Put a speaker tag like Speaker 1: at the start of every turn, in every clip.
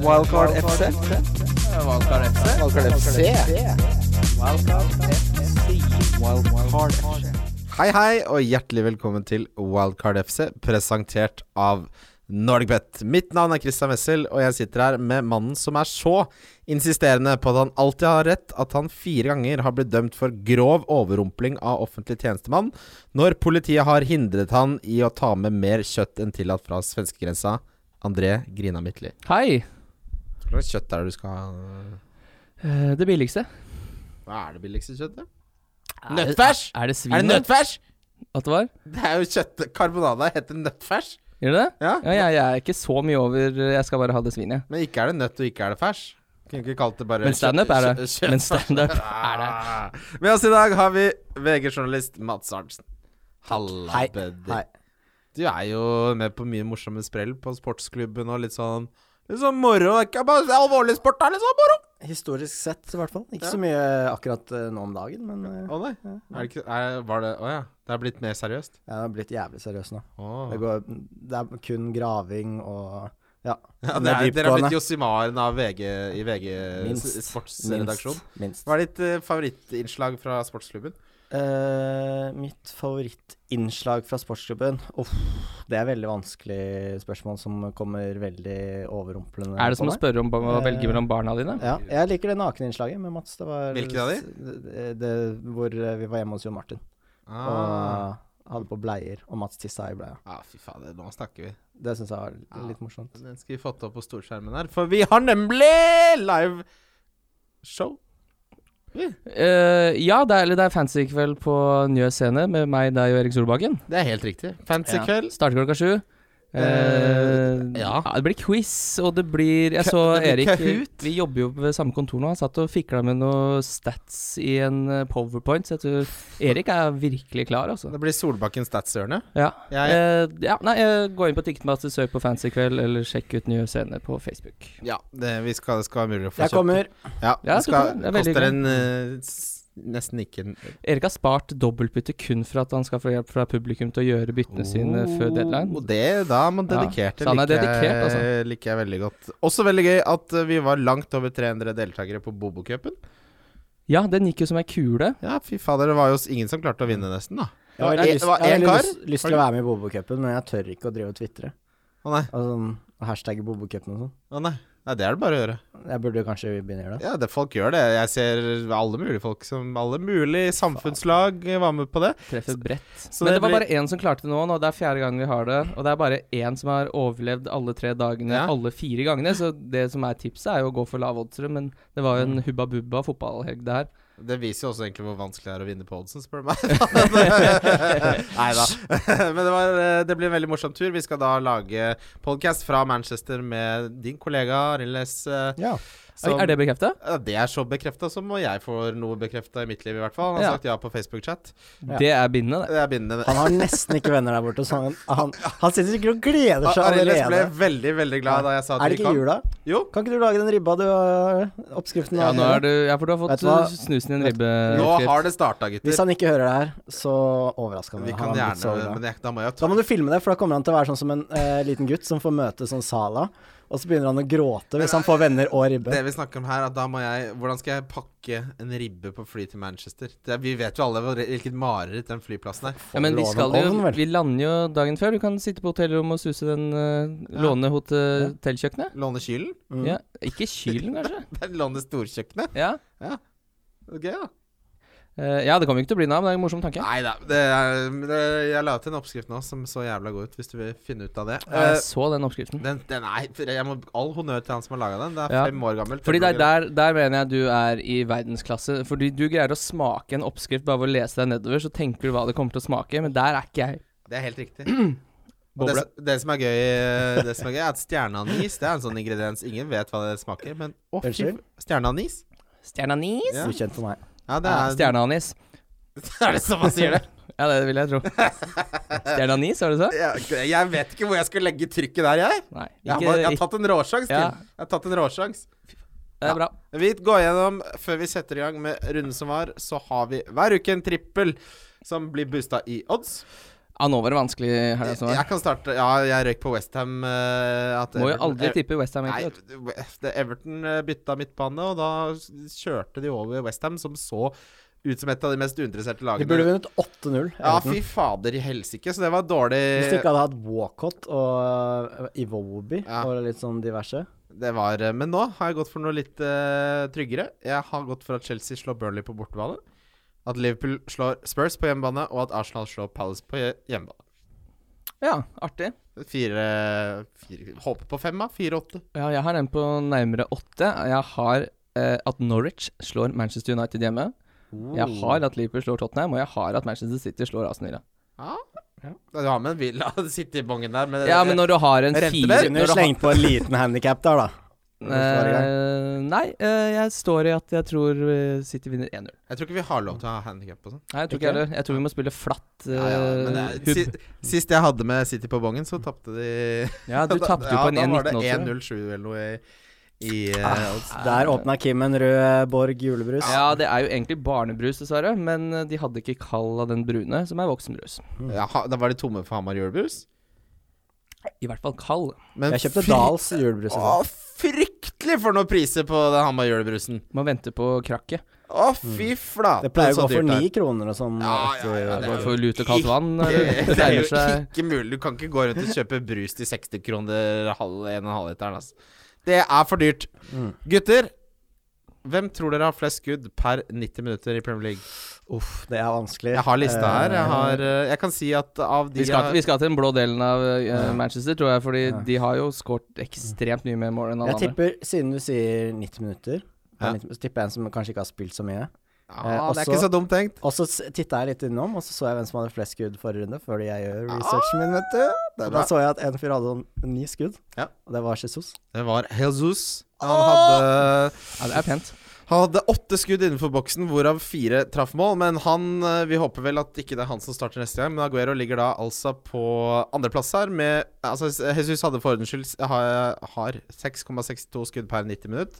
Speaker 1: Wildcard FC.
Speaker 2: Valkar FC.
Speaker 1: Wildcard FC. Wildcard FC.
Speaker 3: Hei, hei, og hjertelig velkommen til Wildcard FC, presentert av NordicBet. Mitt navn er Christian Wessel, og jeg sitter her med mannen som er så insisterende på at han alltid har rett, at han fire ganger har blitt dømt for grov overrumpling av offentlig tjenestemann, når politiet har hindret han i å ta med mer kjøtt enn tillatt fra svenskegrensa. André Grina Midtly.
Speaker 4: Hei!
Speaker 3: Hva slags kjøtt er det du skal ha?
Speaker 4: Eh, Det billigste.
Speaker 3: Hva er det billigste kjøttet?
Speaker 4: Er det-
Speaker 3: Nøttfers?
Speaker 4: Er det svin?
Speaker 3: Er det nøttfers?
Speaker 4: At det var?
Speaker 3: Det er jo kjøtt... Karbonada heter nøttfers.
Speaker 4: Gjør det det?
Speaker 3: Ja.
Speaker 4: Ja, jeg, jeg er ikke så mye over Jeg skal bare ha det svinet.
Speaker 3: Men ikke er det nøtt, og ikke er det fers. Kunne ikke kalt det bare
Speaker 4: Men standup er det.
Speaker 3: kjø- kjø-
Speaker 4: Men standup er det.
Speaker 3: Ah. Med oss i dag har vi VG-journalist Mats Arntzen. Halla,
Speaker 1: Hei.
Speaker 3: buddy.
Speaker 1: Hei.
Speaker 3: Du er jo med på mye morsomme sprell på sportsklubben og litt sånn Litt sånn moro. Ikke bare det er alvorlig sport, det er litt sånn moro.
Speaker 1: Historisk sett, i hvert fall. Ikke
Speaker 3: Ja.
Speaker 1: så mye akkurat eh, nå om dagen, men eh,
Speaker 3: Å nei. Er det ikke er, Var det Å ja. Det er blitt mer seriøst?
Speaker 1: jeg har blitt jævlig seriøs nå.
Speaker 3: Å.
Speaker 1: Det, går, det er kun graving og ja.
Speaker 3: Ja, det er,
Speaker 1: Mer
Speaker 3: dere har
Speaker 1: dyptgående.
Speaker 3: blitt Josimaren av VG i VG
Speaker 1: Minst.
Speaker 3: sportsredaksjon.
Speaker 1: Minst. minst.
Speaker 3: Hva er ditt eh, favorittinnslag fra sportsklubben?
Speaker 1: Eh, mitt favorittinnslag fra sportsklubben Uff, det er veldig vanskelig spørsmål som kommer veldig overrumplende
Speaker 4: Er det som
Speaker 1: på
Speaker 4: å
Speaker 1: meg.
Speaker 4: spørre om å velge mellom barna dine?
Speaker 1: Ja, jeg liker det nakeninnslaget med Mats. Det var
Speaker 3: Hvilket av de?
Speaker 1: Det, det, hvor eh, vi var hjemme hos Jon Martin
Speaker 3: Ah.
Speaker 1: og hadde på bleier, og Mats tissa i bleia.
Speaker 3: ah, fy fader, nå snakker vi.
Speaker 1: Det syns jeg var l- litt morsomt.
Speaker 3: Den skal vi fått opp på storskjermen her, for vi har nemlig live show.
Speaker 4: Eh, ja, det er, eller det er fancy-kveld på Njø scene med meg, deg og Erik Solbakken.
Speaker 3: Det er helt riktig. Fancy
Speaker 1: Ja.
Speaker 3: kveld.
Speaker 4: Starter klokka sju. Eh,
Speaker 3: Eh, ja.
Speaker 4: Det blir quiz, og det blir Jeg
Speaker 3: Kø-
Speaker 4: så
Speaker 3: det blir
Speaker 4: Erik
Speaker 3: Kahoot.
Speaker 4: Vi jobber jo ved samme kontor nå. Han satt og fikla med noe stats i en eh, powerpoint. Så jeg tror Erik er virkelig klar, altså.
Speaker 3: Det blir Solbakken Statshjørne.
Speaker 4: Ja.
Speaker 3: Jeg,
Speaker 4: Eh, ja, nei, eh, gå inn på Ticketmaster, søk på Fancy kveld, eller sjekk ut nye scener på Facebook.
Speaker 3: ja, det vi skal, det skal være mulig å få
Speaker 1: Jeg kommer.
Speaker 3: Ja,
Speaker 4: Ja,
Speaker 3: det skal,
Speaker 4: du kan det. Det er veldig
Speaker 3: koster en eh, s- nesten ikke en
Speaker 4: Erik har spart dobbeltbytte kun for at han skal få hjelp fra publikum til å gjøre byttene sine før deadline.
Speaker 3: Og det, da er man
Speaker 4: Ja,
Speaker 3: dedikert. Det
Speaker 4: så han er
Speaker 3: liker jeg-
Speaker 4: dedikert, altså.
Speaker 3: liker jeg veldig godt. Også veldig gøy at eh, vi var langt over 300 deltakere på Bobokupen.
Speaker 4: Ja, den gikk jo som ei kule.
Speaker 3: Ja, fy fader, det var jo s- ingen som klarte å vinne, nesten, da.
Speaker 1: Jeg har
Speaker 3: Det
Speaker 1: veldig
Speaker 3: var-
Speaker 1: lyst,
Speaker 3: det var
Speaker 1: jeg har
Speaker 3: en
Speaker 1: veldig
Speaker 3: kar.
Speaker 1: lyst, lyst til å være med i Bobokupen, men jeg tør ikke å drive og tvitre.
Speaker 3: Å nei,
Speaker 1: Og sånn, og hashtagge Bobokupen og sånn.
Speaker 3: å nei. Nei, det er det bare å gjøre.
Speaker 1: Jeg burde jo kanskje begynne å gjøre det.
Speaker 3: Ja, det, folk gjør det. Jeg ser alle mulige folk som Alle mulige samfunnslag var med på det.
Speaker 4: Treffer bredt.
Speaker 3: Så
Speaker 4: Men
Speaker 3: det
Speaker 4: det var
Speaker 3: blir-
Speaker 4: bare én som klarte det nå, og det er fjerde gang vi har det. Og det er bare én som har overlevd alle tre dagene,
Speaker 3: Ja.
Speaker 4: alle fire gangene. Så det som er tipset, er jo å gå for lav oddsere, men det var jo en hubba bubba fotballhelg, det her.
Speaker 3: Det viser jo også egentlig hvor vanskelig det er å vinne på oddsen, spør du meg. Nei da. Men det, var, eh, det blir en veldig morsom tur. Vi skal da lage podcast fra Manchester med din kollega Arild Næss. eh,
Speaker 1: Ja.
Speaker 3: som-
Speaker 4: Er det bekrefta?
Speaker 3: Ja, det er så bekrefta som må jeg får noe bekrefta i mitt liv, i hvert fall. Han har
Speaker 4: Ja.
Speaker 3: sagt ja på Facebook-chat.
Speaker 1: Ja.
Speaker 4: Det er bindende, det.
Speaker 3: Det er bindende. det.
Speaker 1: Han har nesten ikke venner der borte, så han, han, han sitter sikkert og gleder seg
Speaker 3: Arild Næss ble
Speaker 1: allerede.
Speaker 3: veldig, veldig glad da jeg sa at vi
Speaker 1: Er det ikke
Speaker 3: kom.
Speaker 1: jul, da?
Speaker 3: Jo.
Speaker 1: Kan ikke du lage den ribba du har eh, oppskriften
Speaker 4: Ja, nå er du Ja, for du har fått
Speaker 1: Vet du hva?
Speaker 4: uh, snusen i en ribbe.
Speaker 3: Nå
Speaker 4: Knut.
Speaker 3: har det starta, gutter.
Speaker 1: Hvis han ikke hører det her, så overrasker han meg.
Speaker 3: Vi kan
Speaker 1: Han er blitt så
Speaker 3: gjerne
Speaker 1: glad.
Speaker 3: Men jeg, da må jeg
Speaker 1: Da må du filme det, for da kommer han til å være sånn som en eh, liten gutt som får møte sånn Sala, og så begynner han å gråte hvis han får venner og ribbe.
Speaker 3: Det vi snakker om her, er at da må jeg Hvordan skal jeg pakke en ribbe på fly til Manchester? Det, vi vet jo alle hvor, hvilket mareritt den flyplassen er.
Speaker 4: Ja, men vi
Speaker 1: Låne
Speaker 4: skal
Speaker 1: ovn,
Speaker 4: jo
Speaker 1: vel?
Speaker 4: Vi lander jo dagen før. Du kan sitte på hotellrommet og suse den eh,
Speaker 3: Ja.
Speaker 4: Låne hotellkjøkkenet.
Speaker 3: Låne kylen?
Speaker 1: Mm.
Speaker 4: Ja. Ikke kylen, kanskje?
Speaker 3: Det er Låne storkjøkkenet?
Speaker 4: Ja.
Speaker 3: Ok, da.
Speaker 4: Eh, ja, det kommer jo ikke til å bli noe av, men det er en morsom tanke.
Speaker 3: Nei da. Det er, det, jeg la ut en oppskrift nå som så jævla god ut, hvis du vil finne ut av det.
Speaker 4: Ja,
Speaker 3: Eh,
Speaker 4: Jeg så den oppskriften.
Speaker 3: den, den er Jeg må All honnør til han som har laga den. Det er
Speaker 4: Ja.
Speaker 3: fem år gammelt.
Speaker 4: Fordi der, der, der mener jeg du er i verdensklasse. Fordi du greier å smake en oppskrift bare ved å lese deg nedover, så tenker du hva det kommer til å smake, men der er ikke jeg.
Speaker 3: Det er helt riktig. Og det,
Speaker 4: Boble.
Speaker 3: som- det, som er gøy, det som er gøy, er at stjerneanis Det er en sånn ingrediens ingen vet hva det smaker, men å, fy
Speaker 1: Unnskyld?
Speaker 3: Stjerneanis?
Speaker 4: Stjerneanis?
Speaker 3: Ja.
Speaker 1: Ukjent for meg.
Speaker 3: Ja, det
Speaker 4: Ja,
Speaker 3: er,
Speaker 4: Stjerneanis.
Speaker 3: er det som man sier det?
Speaker 4: Ja, det vil jeg tro. Stjerneanis, var det du sa?
Speaker 3: Ja, jeg vet ikke hvor jeg skal legge trykket der, jeg.
Speaker 4: Nei.
Speaker 3: Jeg har,
Speaker 4: Ikke,
Speaker 3: bare- jeg har
Speaker 4: ikke,
Speaker 3: tatt en råsjans, Tim.
Speaker 4: Ja.
Speaker 3: Jeg har tatt en råsjans.
Speaker 4: det er bra.
Speaker 3: Vi går gjennom, Før vi setter i gang med runden som var, så har vi hver uke en trippel som blir boosta i odds.
Speaker 4: Ja, nå var det vanskelig her,
Speaker 3: Jeg,
Speaker 4: altså. Jeg
Speaker 3: kan starte Ja, jeg røyk på eh, Westham.
Speaker 4: må jo aldri tippe Westham,
Speaker 3: Nei,
Speaker 4: egentlig. vet du.
Speaker 3: det- Everton eh, bytta midtbane, og da s- kjørte de over Westham, som så ut som et av de mest uinteresserte
Speaker 1: De burde
Speaker 3: lagene.
Speaker 1: vunnet 8-0.
Speaker 3: Ja,
Speaker 1: Everton.
Speaker 3: fy fader i helsike, så det var dårlig
Speaker 1: Hvis du ikke hadde hatt Walcott og eh, Iwobi
Speaker 3: Ja.
Speaker 1: og litt sånn diverse.
Speaker 3: Det var, eh, men nå har jeg gått for noe litt eh, tryggere. Jeg har gått for at Chelsea slår Burnley på bortebane. At Liverpool slår Spurs på hjemmebane, og at Arsenal slår Palace på hje- hjemmebane.
Speaker 4: Ja, artig.
Speaker 3: Fire, fire Håper på fem, da. Fire-åtte.
Speaker 4: Ja, jeg har en på nærmere åtte. Jeg har eh, at Norwich slår Manchester United hjemme.
Speaker 3: Oh.
Speaker 4: Jeg har at Liverpool slår Tottenham, og jeg har at Manchester City slår Aston Villa.
Speaker 3: Du har med en Villa City i bongen der, men,
Speaker 4: Ja, men når du har en
Speaker 3: Rente
Speaker 4: fire
Speaker 3: der?
Speaker 1: Kunne
Speaker 4: når
Speaker 1: jo
Speaker 4: du har,
Speaker 1: slengt på en liten handikap der, da. Forrige gang.
Speaker 4: Eh, Nei, eh, jeg står i at jeg tror eh, City vinner 1-0.
Speaker 3: jeg tror ikke vi har lov til å ha handikap og sånn.
Speaker 4: Nei, jeg tror ikke jeg heller. Jeg tror vi må spille flatt.
Speaker 3: Ja, ja, men
Speaker 4: eh,
Speaker 3: det er-
Speaker 4: hub.
Speaker 3: si- sist jeg hadde med City på bongen, så tapte de
Speaker 4: Ja, du tapte jo
Speaker 3: Ja,
Speaker 4: på en
Speaker 3: Da var
Speaker 4: 1-19
Speaker 3: det
Speaker 4: også.
Speaker 3: 1-0-7 eller noe i, i eh, odds.
Speaker 1: Der åpna Kim en rød Borg julebrus.
Speaker 4: Ja, det er jo egentlig barnebrus, dessverre. Men eh, de hadde ikke kall av den brune, som er voksenbrus.
Speaker 3: ja, ha- Da var de tomme for Hamar julebrus.
Speaker 4: I hvert fall kall.
Speaker 3: Men
Speaker 1: Jeg kjøpte
Speaker 3: fy-
Speaker 1: Dahls julebrus. i
Speaker 3: Å,
Speaker 1: går.
Speaker 3: fryktelig for noen priser på den Hamar julebrusen.
Speaker 4: Man venter på krakket.
Speaker 3: Å, fy flate.
Speaker 1: Det pleier å
Speaker 3: så
Speaker 1: gå for
Speaker 3: dyrt det er.
Speaker 1: ni kroner og sånn.
Speaker 3: Ja, ja, ja,
Speaker 4: Det
Speaker 3: det
Speaker 1: etter-
Speaker 4: går for lut og kaldt vann.
Speaker 3: Det det er jo
Speaker 4: nærmer seg
Speaker 3: ikke mulig. Du kan ikke gå rundt og kjøpe brus til 60 kroner halv, en og en halv literen. Altså. Det er for dyrt.
Speaker 1: Mm.
Speaker 3: Gutter, hvem tror dere har flest skudd per 90 minutter i Premier League?
Speaker 1: Uff, det er vanskelig.
Speaker 3: Jeg har lista her.
Speaker 1: Eh,
Speaker 3: Jeg, har, eh, jeg kan si at av de
Speaker 4: vi skal, vi skal til den blå delen av eh,
Speaker 1: Ja.
Speaker 4: Manchester, tror jeg. Fordi
Speaker 1: Ja.
Speaker 4: de har jo skåret ekstremt mye mer mål enn alle
Speaker 1: Jeg
Speaker 4: andre.
Speaker 1: tipper, siden du sier 90 minutter,
Speaker 3: Ja.
Speaker 1: 90, så tipper jeg en som kanskje ikke har spilt så mye.
Speaker 3: ja, Det er
Speaker 1: også-
Speaker 3: ikke så dumt tenkt.
Speaker 1: Og så titta jeg litt innom, og så så jeg hvem som hadde flest skudd forrige runde. Fordi jeg gjør researchen min, vet du.
Speaker 3: Ah, Det, er
Speaker 1: Og
Speaker 3: bra.
Speaker 1: da så jeg at en fyr hadde sånn ni skudd,
Speaker 3: Ja.
Speaker 1: og det var Jesus.
Speaker 3: det var Jesus. Han hadde
Speaker 4: Ja, det er pent.
Speaker 3: Han hadde åtte skudd innenfor boksen, hvorav fire traff mål. Men han, eh, vi håper vel at ikke det er han som starter neste gang. Men Aguero ligger da altså på andreplass her. Med, altså, Jesus hadde for ordens skyld har, har 6,62 skudd per 90 minutt.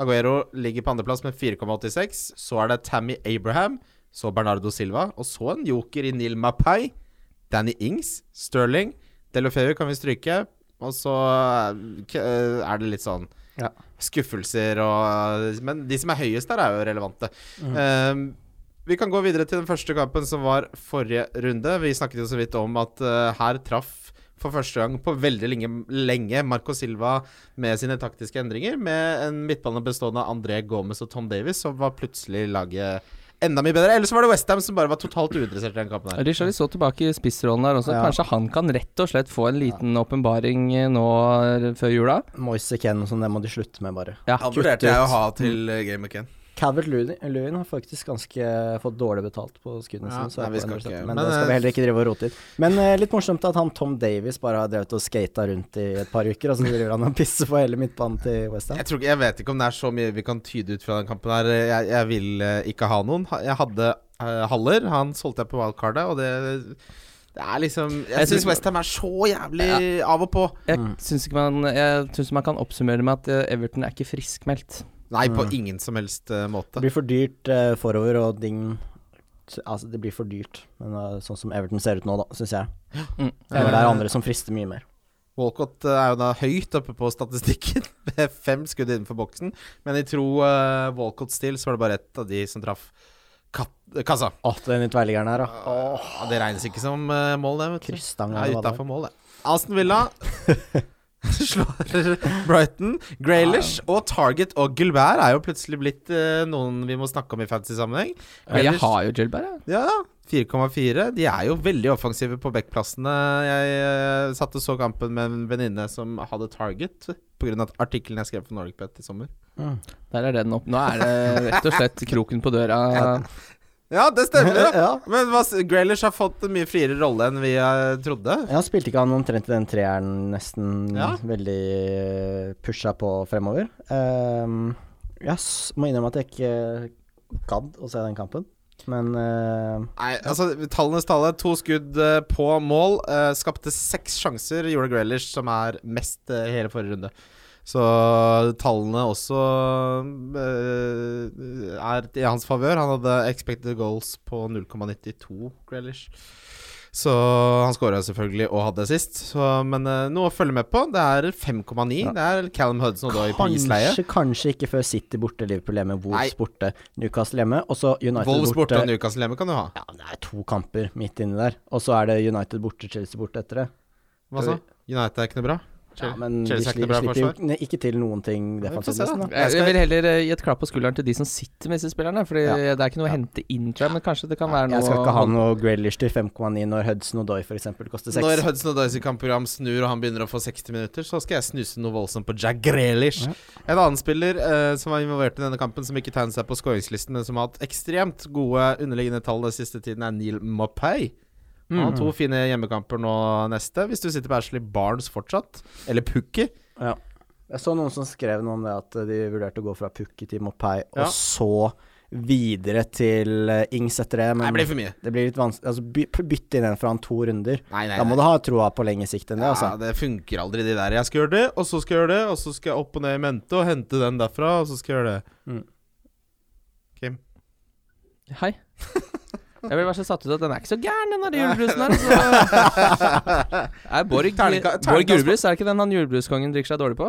Speaker 3: Aguero ligger på andreplass med 4,86. Så er det Tammy Abraham, så Bernardo Silva, og så en joker i Neil Mapai. Danny Ings, Sterling, Delofeu kan vi stryke. Og så eh, k- eh, er det litt sånn
Speaker 1: Ja.
Speaker 3: skuffelser og Men de som er høyest der, er jo relevante. Eh, vi kan gå videre til den første kampen som var forrige runde. Vi snakket jo så vidt om at eh, her traff for første gang på veldig lenge, lenge Marco Silva med sine taktiske endringer, med en midtbane bestående av André Gomez og Tom Davies, som var plutselig laget enda mye bedre. Eller så var det Westham som bare var totalt uinteressert i den kampen. her
Speaker 4: Richard så tilbake i spissrollen der også.
Speaker 1: Ja.
Speaker 4: Kanskje han kan rett og slett få en liten åpenbaring eh, nå eh, før jula?
Speaker 1: Moise Ken og sånn, det må de slutte med, bare.
Speaker 4: Ja. Mm.
Speaker 3: Han
Speaker 1: Kutt
Speaker 3: vurderte jeg å
Speaker 1: ut.
Speaker 3: ha til eh, Game of Ken.
Speaker 1: Calvert Lewin har faktisk ganske fått dårlig betalt på skuddene
Speaker 3: Ja,
Speaker 1: sine, så er
Speaker 3: nei, vi
Speaker 1: på
Speaker 3: skal ikke-
Speaker 1: 170, men,
Speaker 3: men,
Speaker 1: det
Speaker 3: eh,
Speaker 1: skal vi heller ikke drive og rote i. Men eh, litt morsomt at han Tom Davies bare har drevet og skata rundt i et par uker, og så driver han og pisser på hele midtbanen til Westham.
Speaker 3: Jeg, tror, ikke- jeg vet ikke om det er så mye vi kan tyde ut fra den kampen her. Jeg, jeg vil eh, ikke ha noen. Ha- Jeg hadde eh, Haller, han solgte jeg på wildcardet, og det det er liksom Jeg,
Speaker 4: Jeg
Speaker 3: synes
Speaker 4: synes-
Speaker 3: syns Westham er så jævlig av og på.
Speaker 4: Jeg syns ikke man Jeg synes man kan oppsummere med at eh, Everton er ikke friskmeldt.
Speaker 3: Nei, på
Speaker 4: Mm.
Speaker 3: ingen som helst eh,
Speaker 1: Det
Speaker 3: måte.
Speaker 1: blir for dyrt eh, forover, og ding Altså, det blir for dyrt, men eh, sånn som Everton ser ut nå, da, syns jeg.
Speaker 4: Mm.
Speaker 1: Det er
Speaker 3: Eh,
Speaker 1: andre som frister mye mer.
Speaker 3: Walcott eh, er jo da høyt oppe på statistikken, med fem skudd innenfor boksen. Men i tro uh, Walcott-stil, så var det bare ett av de som traff kat kassa.
Speaker 1: Å, den tverrliggeren her, da.
Speaker 3: Ja, det regnes ikke som eh, mål, det. vet du.
Speaker 1: Kryssstang.
Speaker 3: Ja,
Speaker 1: eller hva det
Speaker 3: utafor mål, det. Aston Villa slår Brighton. Graylish og Target og Gilbert er jo plutselig blitt eh, noen vi må snakke om i fantasy-sammenheng.
Speaker 4: Men jeg
Speaker 3: Grealish-
Speaker 4: har jo Gilbert, jeg.
Speaker 3: Ja, 4,4. De er jo veldig offensive på backplassene. Jeg eh, satt og så kampen med en venninne som hadde Target pga. artikkelen jeg skrev for Norwegian i sommer.
Speaker 1: var. Mm.
Speaker 4: Der er den opp. Nå er det rett og slett kroken på døra.
Speaker 3: Ja, det stemmer! ja.
Speaker 1: ja.
Speaker 3: Men hva s- Grealish har fått en mye friere rolle enn vi eh, trodde.
Speaker 1: Ja, spilte ikke han omtrent i den treeren nesten
Speaker 3: Ja.
Speaker 1: veldig eh, pusha på fremover? Ehm, jeg s- må innrømme at jeg ikke gadd å se den kampen, men eh,
Speaker 3: Nei, altså Tallenes tale. To skudd eh, på mål. eh, skapte seks sjanser. Gjorde Grealish, som er mest eh, i hele forrige runde. Så tallene også eh, er i hans favør. Han hadde expected goals på 0,92, Grealish. Så han skåra selvfølgelig og hadde sist, så, men eh, noe å følge med på. Det er 5,9. Det er Callum Hudson og Doy på isleie.
Speaker 1: Kanskje, kanskje ikke før City borte, Liverpool hjemme, Wolves
Speaker 3: Nei.
Speaker 1: borte, Newcastle hjemme, og så United
Speaker 3: Wolves borte
Speaker 1: borte.
Speaker 3: og Newcastle hjemme kan du ha.
Speaker 1: ja, men det er to kamper midt inni der, og så er det United borte, Chelsea borte etter det.
Speaker 3: Hva så? United er ikke noe bra?
Speaker 1: Ja, men de
Speaker 3: Chelsea er ikke
Speaker 1: slipper,
Speaker 3: bra
Speaker 1: slipper jo ne- ikke til noen ting
Speaker 3: vi får
Speaker 1: defensivt.
Speaker 3: se, da.
Speaker 1: nesten, da.
Speaker 3: Jeg
Speaker 4: Jeg,
Speaker 3: skal-
Speaker 4: vil heller eh, gi et klapp på skulderen til de som sitter med disse spillerne. Fordi
Speaker 1: Ja.
Speaker 4: det er ikke noe å hente inn til, men kanskje det kan være noe
Speaker 1: Jeg skal ikke ha
Speaker 4: å-
Speaker 1: noe Grealish til 5,9 når Hudson og Doy f.eks. koster 6.
Speaker 3: Når Hudson og Doy sitt kampprogram snur og han begynner å få 60 minutter, så skal jeg snuse noe voldsomt på Jack Grealish. En annen spiller eh, som var involvert i denne kampen, som ikke tegnet seg på skåringslisten, men som har hatt ekstremt gode underliggende tall den siste tiden, er Neil Mopay. Han
Speaker 1: Mm.
Speaker 3: har to fine hjemmekamper nå neste, hvis du sitter på Ashley Barnes fortsatt. Eller Pukki.
Speaker 1: Ja. Jeg så noen som skrev noe om det, at de vurderte å gå fra Pukki til Mopay,
Speaker 3: Ja.
Speaker 1: og så videre til eh, Ings etter det. Men
Speaker 3: Nei, det blir for mye.
Speaker 1: det blir litt vanskelig Altså, by, bytte inn en fra han to runder.
Speaker 3: Nei, nei,
Speaker 1: Da
Speaker 3: nei.
Speaker 1: må du ha troa på lengre sikt enn det, altså.
Speaker 3: Ja, det funker aldri, de der. Jeg skal gjøre det, og så skal jeg gjøre det, og så skal jeg opp og ned i mente og hente den derfra, og så skal jeg gjøre det.
Speaker 1: Mm.
Speaker 4: Hei. Jeg ble bare så satt ut at den er ikke så gæren, den der julebrusen her. Så. Er Borg,
Speaker 3: Terningka-
Speaker 4: Borg
Speaker 3: terningkast-
Speaker 4: julebrus, er det ikke den han julebruskongen drikker seg dårlig på?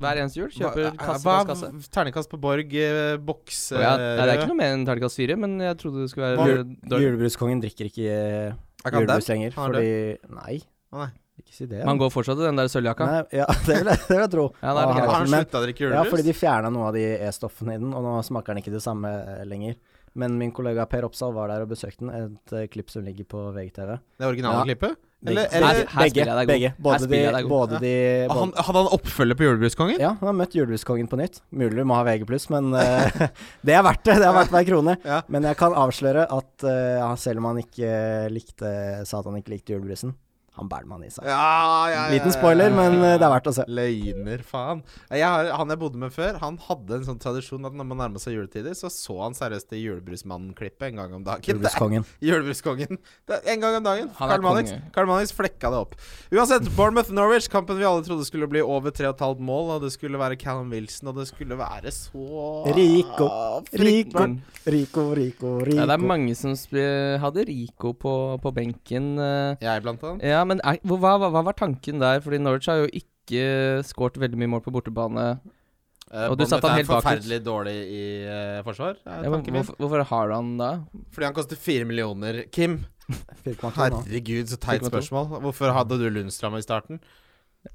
Speaker 4: Hver eneste jul kjøper
Speaker 3: Hva-
Speaker 4: kasse på
Speaker 3: hva-
Speaker 4: kasse.
Speaker 3: Terningkast på Borg, eh, boks
Speaker 4: Å ja,
Speaker 3: eh,
Speaker 4: nei, det er ikke noe mer enn terningkast fire, men jeg trodde det skulle være
Speaker 1: Jul-
Speaker 4: dårlig.
Speaker 1: Julebruskongen drikker ikke eh,
Speaker 3: Er ikke han
Speaker 1: julebrus
Speaker 3: dau?
Speaker 1: lenger,
Speaker 3: Han er
Speaker 1: fordi Nei.
Speaker 3: Å, nei.
Speaker 1: Ikke si det.
Speaker 4: Han går fortsatt i den der sølvjakka.
Speaker 1: Nei, ja, det vil jeg, det vil jeg tro.
Speaker 4: Ja, det er det
Speaker 1: Og han
Speaker 4: greit.
Speaker 1: er
Speaker 3: Har han
Speaker 1: ikke- men-
Speaker 3: slutta å drikke
Speaker 1: Ja, fordi
Speaker 3: julebrus?
Speaker 1: de fjerna noe av de E-stoffene i den, og nå smaker den ikke det samme eh, lenger. Men min kollega Per Oppsal var der og besøkte den. Et eh, klipp som ligger på VGTV.
Speaker 3: det originale
Speaker 1: Ja.
Speaker 3: klippet?
Speaker 1: Begge-
Speaker 3: Eller,
Speaker 4: Nei,
Speaker 3: eller
Speaker 4: her spiller
Speaker 1: begge,
Speaker 4: jeg deg god.
Speaker 1: begge.
Speaker 4: Her
Speaker 1: Både de,
Speaker 4: spiller jeg deg god.
Speaker 1: både de
Speaker 3: Ah,
Speaker 1: både,
Speaker 3: han, Hadde han oppfølger på Julebruskongen?
Speaker 1: Ja, han har møtt Julelyskongen på nytt. Mulig vi må ha VG+, men eh, det er verdt det. Det er verdt hver krone.
Speaker 3: Ja.
Speaker 1: Men jeg kan avsløre at eh, ja, selv om han ikke eh, likte sa at han ikke likte julebrusen, han bærer man i seg.
Speaker 3: Ja, ja, ja,
Speaker 1: Liten spoiler, men eh, det er verdt å se.
Speaker 3: Løgner, faen. Jeg, har- han jeg bodde med før, han hadde en sånn tradisjon at når man nærma seg juletider, så så han seriøst det Julebrusmannen-klippet en gang om dagen. Det er-
Speaker 1: Julelyskongen.
Speaker 3: Julebruskongen. Det er En gang om dagen.
Speaker 4: Han er
Speaker 3: Karl Manix,
Speaker 4: konge.
Speaker 3: Karl Manix flekka det opp. Uansett, Bournemouth-Norwich, kampen vi alle trodde skulle bli over 3,5 mål, og det skulle være Callum Wilson, og det skulle være så
Speaker 1: Rico. Rico,
Speaker 4: Fryktbarn.
Speaker 1: Rico, Rico,
Speaker 4: Mm. Ja, det er
Speaker 1: Rico.
Speaker 4: mange som sp hadde Rico på, på benken. eh.
Speaker 3: Jeg, blant annet.
Speaker 4: Ja, men er, hvor- hva, hva, hva var tanken der? Fordi Norwich har jo ikke skåret veldig mye mål på bortebane.
Speaker 3: Eh,
Speaker 4: Og du
Speaker 3: Bournemouth
Speaker 4: satte han
Speaker 3: er
Speaker 4: helt bak ut.
Speaker 3: Forferdelig dårlig i eh, forsvar. er
Speaker 4: Ja, hvor,
Speaker 3: tanken min.
Speaker 4: hvorfor, hvorfor har han da?
Speaker 3: Fordi han koster fire millioner. Kim,
Speaker 1: 4,2 nå.
Speaker 3: herregud, så teit
Speaker 4: 4,2.
Speaker 3: spørsmål. Hvorfor hadde du Lundstrand i starten?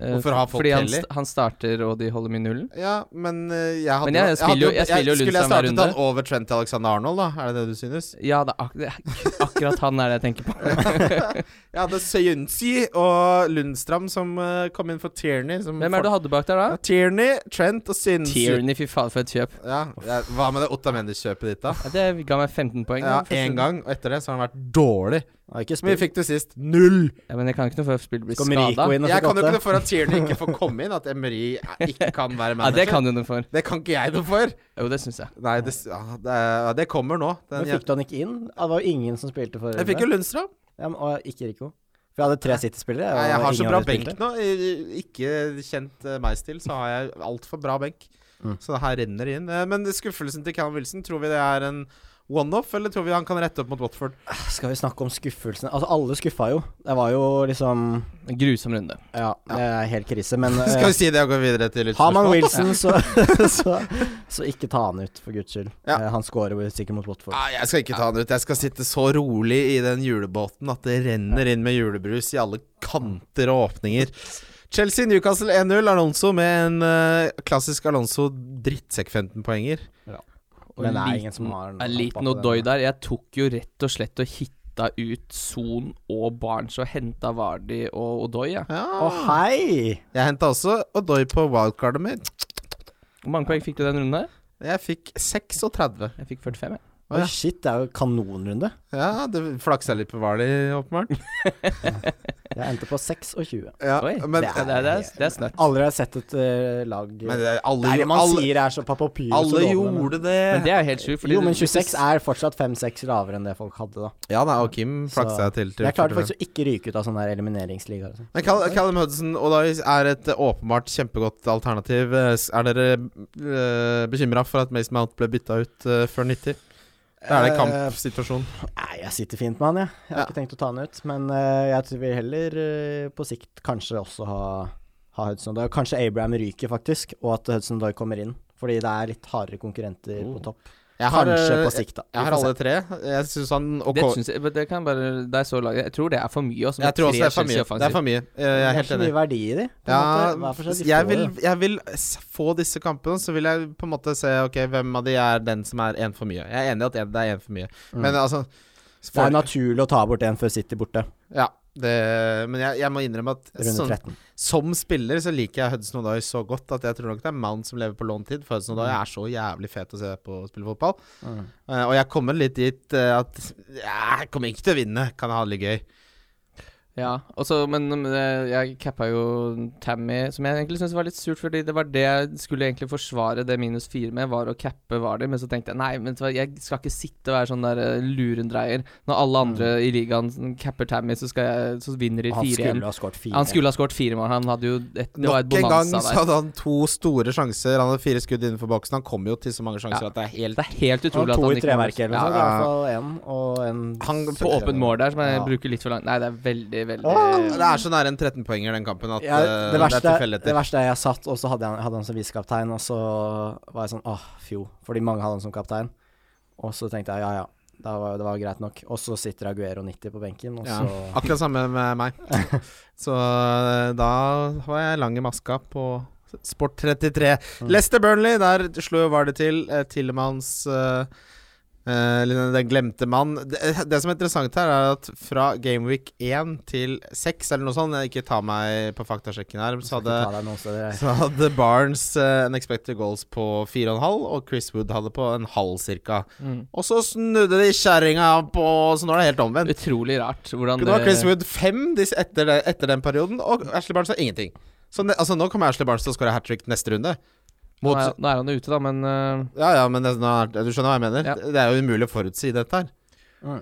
Speaker 4: Eh,
Speaker 3: Hvorfor har folk
Speaker 4: Fordi han,
Speaker 3: Kelly?
Speaker 4: st- han starter, og de holder med nullen?
Speaker 3: Ja, men eh, jeg hadde
Speaker 4: Men jeg spiller jo- jeg spiller jo
Speaker 3: Skulle jeg
Speaker 4: Lundstrøm hver
Speaker 3: startet han over Trent Alexander Arnold, da? Er det det du synes?
Speaker 4: Ja, det er ak det er akkurat han er det jeg tenker på.
Speaker 3: Jeg hadde Søyensi og Lundstram som eh, kom inn for Tierney. Som
Speaker 4: Hvem er det du hadde bak der,
Speaker 3: Ja,
Speaker 4: da?
Speaker 3: Tierney, Trent og Sinsi.
Speaker 4: Tierney, fy faen, for et kjøp.
Speaker 3: Ja, ja, hva med det Ottamendi-kjøpet ditt, da?
Speaker 4: Ja, det ga meg 15 poeng.
Speaker 3: Ja,
Speaker 4: da, første-
Speaker 3: Én gang, og etter det så har han vært dårlig.
Speaker 1: Har ikke
Speaker 3: Men vi
Speaker 1: spilt.
Speaker 3: fikk det sist. Null!
Speaker 4: Ja, men jeg kan ikke noe for at spillet blir
Speaker 1: Kom Rico
Speaker 4: skada.
Speaker 1: inn og
Speaker 3: Jeg kan
Speaker 1: fikk
Speaker 3: jo ikke
Speaker 1: åtte.
Speaker 3: noe for at Tierney ikke får komme inn, at Emery eh, ikke kan være
Speaker 4: Ja,
Speaker 3: manager.
Speaker 4: det kan du noe for.
Speaker 3: Det kan ikke jeg noe for.
Speaker 4: Jo, det syns jeg.
Speaker 3: Nei, det, s- ja, det, ja, det kommer nå. Den,
Speaker 1: Men fikk du han ikke inn? Det var jo ingen som spilte for
Speaker 3: jeg fikk jo Lundstrøm.
Speaker 1: Ja, men, og ikke Rico. For jeg hadde tre City-spillere.
Speaker 3: Nei,
Speaker 1: og
Speaker 3: jeg har så
Speaker 1: ingen
Speaker 3: bra
Speaker 1: av de
Speaker 3: benk
Speaker 1: spilte.
Speaker 3: nå. I- i- Ikke kjent eh, meg til, så har jeg altfor bra benk.
Speaker 1: Mm.
Speaker 3: Så det her renner inn. Eh, Men skuffelsen til Callum Wilson, tror vi det er en one-off, eller tror vi han kan rette opp mot Watford?
Speaker 1: Skal vi snakke om skuffelsen Altså, alle skuffa jo. Det var jo liksom
Speaker 4: En grusom runde.
Speaker 1: Ja, det er helt krise, men eh,
Speaker 3: Skal vi si det og gå videre til
Speaker 1: har man
Speaker 3: lytterspørsmål?
Speaker 1: Wilson, så, så, så ikke ta han ut, for guds skyld.
Speaker 3: Ja.
Speaker 1: Eh, han scorer jo sikkert mot Watford.
Speaker 3: Nei, jeg skal ikke ta han ut. Jeg skal sitte så rolig i den julebåten at det renner inn med julebrus i alle kanter og åpninger. Chelsea Newcastle 1-0. Alonso med en eh, klassisk Alonso drittsekk 15-poenger.
Speaker 4: Og
Speaker 1: Men det er
Speaker 4: liten-
Speaker 1: ingen som har
Speaker 4: En liten
Speaker 1: hoppa på
Speaker 4: Odoi
Speaker 1: den.
Speaker 4: der. Jeg tok jo rett og slett og hitta ut Son og Barnes og henta Vardi og Odoi, jeg.
Speaker 1: Å, hei!
Speaker 3: Jeg henta også Odoi på wildcardet mitt.
Speaker 4: Hvor mange poeng fikk du den runden her?
Speaker 3: Jeg fikk 36.
Speaker 4: Jeg fikk 45, jeg.
Speaker 3: Å,
Speaker 1: Oi,
Speaker 3: ja.
Speaker 1: shit, det er jo kanonrunde.
Speaker 3: Ja, det flaksa litt på Hvali, åpenbart.
Speaker 1: Jeg endte på 26.
Speaker 3: Ja,
Speaker 4: Oi,
Speaker 3: men
Speaker 4: det, er, det, er, det er snøtt.
Speaker 1: Aldri har jeg sett et eh, lag
Speaker 3: men
Speaker 1: det,
Speaker 3: det, alle,
Speaker 1: er det man
Speaker 3: alle,
Speaker 1: sier er så papapyr.
Speaker 3: alle gjorde det.
Speaker 4: Men det er jo helt sjukt. fordi
Speaker 1: Jo, men
Speaker 4: du- hvis du-
Speaker 1: 26 er fortsatt 5-6 lavere enn det folk hadde, da.
Speaker 3: Ja, nei, og Kim flaksa
Speaker 1: Så-
Speaker 3: til. til
Speaker 1: Jeg klarte
Speaker 3: 45.
Speaker 1: faktisk å ikke ryke ut av sånn der elimineringsliga. og sånn.
Speaker 3: Men Cal Callum Hudson og Dice er et eh, åpenbart kjempegodt alternativ. Eh, s- Er dere uh, bekymra for at Mace Mount ble bytta ut eh, før 90? Da er det
Speaker 1: Eh,
Speaker 3: kampsituasjon.
Speaker 1: Nei, jeg sitter fint med han, jeg. Jeg har
Speaker 3: Ja.
Speaker 1: ikke tenkt å ta han ut. Men eh, jeg tror vil heller eh, på sikt kanskje også ha, ha Hudson Doy. Kanskje Abraham ryker, faktisk, og at Hudson Doy kommer inn. Fordi det er litt hardere konkurrenter på topp.
Speaker 3: Oh. Jeg har,
Speaker 1: kanskje
Speaker 3: eh,
Speaker 1: på sikt, da. Vi
Speaker 3: Jeg har
Speaker 1: får se.
Speaker 3: alle tre. Jeg syns han og
Speaker 4: Det
Speaker 3: Ko-
Speaker 4: syns jeg men det kan bare Det er så laget. Jeg tror det er for mye. Også, med
Speaker 3: Jeg tror også det
Speaker 4: tre
Speaker 3: er for mye.
Speaker 4: Chelsea-offensiver.
Speaker 3: Det er for mye. Eh, Jeg er
Speaker 1: det er
Speaker 3: helt
Speaker 1: så
Speaker 3: enig.
Speaker 1: mye verdi i de. På en måte.
Speaker 3: Ja,
Speaker 1: Hver for seg. De
Speaker 3: jeg
Speaker 1: får
Speaker 3: vil,
Speaker 1: det.
Speaker 3: jeg vil s- få disse kampene, så vil jeg på en måte se Ok, hvem av de er den som er én for mye. Jeg er enig i at en- det er én for mye, men altså
Speaker 1: Mm. Det
Speaker 3: for,
Speaker 1: er naturlig å ta bort en før City borte,
Speaker 3: Ja, det, men jeg, jeg må innrømme at
Speaker 1: runde
Speaker 3: sånn,
Speaker 1: 13.
Speaker 3: som spiller så liker jeg Hudson Odoi så godt at jeg tror nok det er Mount som lever på låntid, for Hudson Odoi er så jævlig fet å se på å spille fotball.
Speaker 1: Mm.
Speaker 3: Eh, og jeg kommer litt dit eh, at ja, Jeg kommer ikke til å vinne, kan jeg ha det litt gøy.
Speaker 4: Ja, og så- men men, eh, jeg cappa jo Tammy, som jeg egentlig syntes var litt surt, fordi det var det jeg skulle egentlig forsvare det minus fire med, var å cappe Vardy, men så tenkte jeg nei, men vet du hva, jeg skal ikke sitte og være sånn der eh, lurendreier. Når alle andre i ligaen capper Tammy, så, skal jeg, så vinner de
Speaker 1: Han
Speaker 4: 4-1.
Speaker 1: skulle ha skåret fire.
Speaker 4: Han skulle ha skåret fire mål, han hadde jo et, Det var et
Speaker 3: Nok en gang
Speaker 4: bonanza
Speaker 3: så
Speaker 4: der.
Speaker 3: hadde han to store sjanser. Han hadde fire skudd innenfor boksen. Han kommer jo til så mange sjanser
Speaker 4: Ja.
Speaker 3: at det er helt
Speaker 4: Det er helt
Speaker 1: Han
Speaker 4: utrolig
Speaker 1: har
Speaker 4: at
Speaker 1: to
Speaker 4: han
Speaker 1: i
Speaker 4: ikke har-
Speaker 1: treverket eller
Speaker 4: Ja,
Speaker 1: noe sånt. I hvert fall én og en
Speaker 3: Han-
Speaker 4: på åpent mål der, som jeg
Speaker 1: Ja.
Speaker 4: bruker litt for langt. Nei, det er veldig, veldig
Speaker 3: Åh, Det er så nær en 13-poenger den kampen at
Speaker 1: Mm. ja,
Speaker 3: eh,
Speaker 1: det, verste,
Speaker 3: det er
Speaker 1: det
Speaker 3: tilfeldigheter.
Speaker 1: verste er jeg satt, og så hadde han, hadde han som visekaptein, og så var jeg sånn åh, fjo. Fordi mange hadde han som kaptein. Og så tenkte jeg ja, ja, det var, det var greit nok. Og så sitter Aguero 90 på benken, og
Speaker 3: Ja.
Speaker 1: så
Speaker 3: Akkurat samme med meg. Så eh, da var jeg lang i maska på Sport 33. Leicester Burnley, der slo jo Vardø til. eh, Tillemanns eh, eh, eller den- Den glemte mann. Det, eh, det som er interessant her, er at fra Gameweek 1 til 6, eller noe sånt Jeg ikke ta meg på faktasjekken her, så
Speaker 1: skal
Speaker 3: hadde
Speaker 1: ikke ta deg noen steder. jeg.
Speaker 3: Så hadde Barnes uh, unexpected goals på 4,5, og Chris Wood hadde på en halv cirka.
Speaker 4: Mm.
Speaker 3: Og så snudde de kjerringa på Så nå er det helt omvendt.
Speaker 4: Utrolig rart hvordan
Speaker 3: Nå har Chris Wood fem dis- etter, det, etter den perioden, og Ashley Barnes har ingenting. Så ne, altså, nå kommer Ashley Barnes til å skåre hat trick neste runde.
Speaker 4: nå,
Speaker 3: Mot,
Speaker 4: er, nå er han jo ute, da, men eh,
Speaker 3: ja, ja, men det, nå er, du skjønner hva jeg mener?
Speaker 4: Ja.
Speaker 3: Det er jo umulig å forutsi dette her.
Speaker 1: Mm.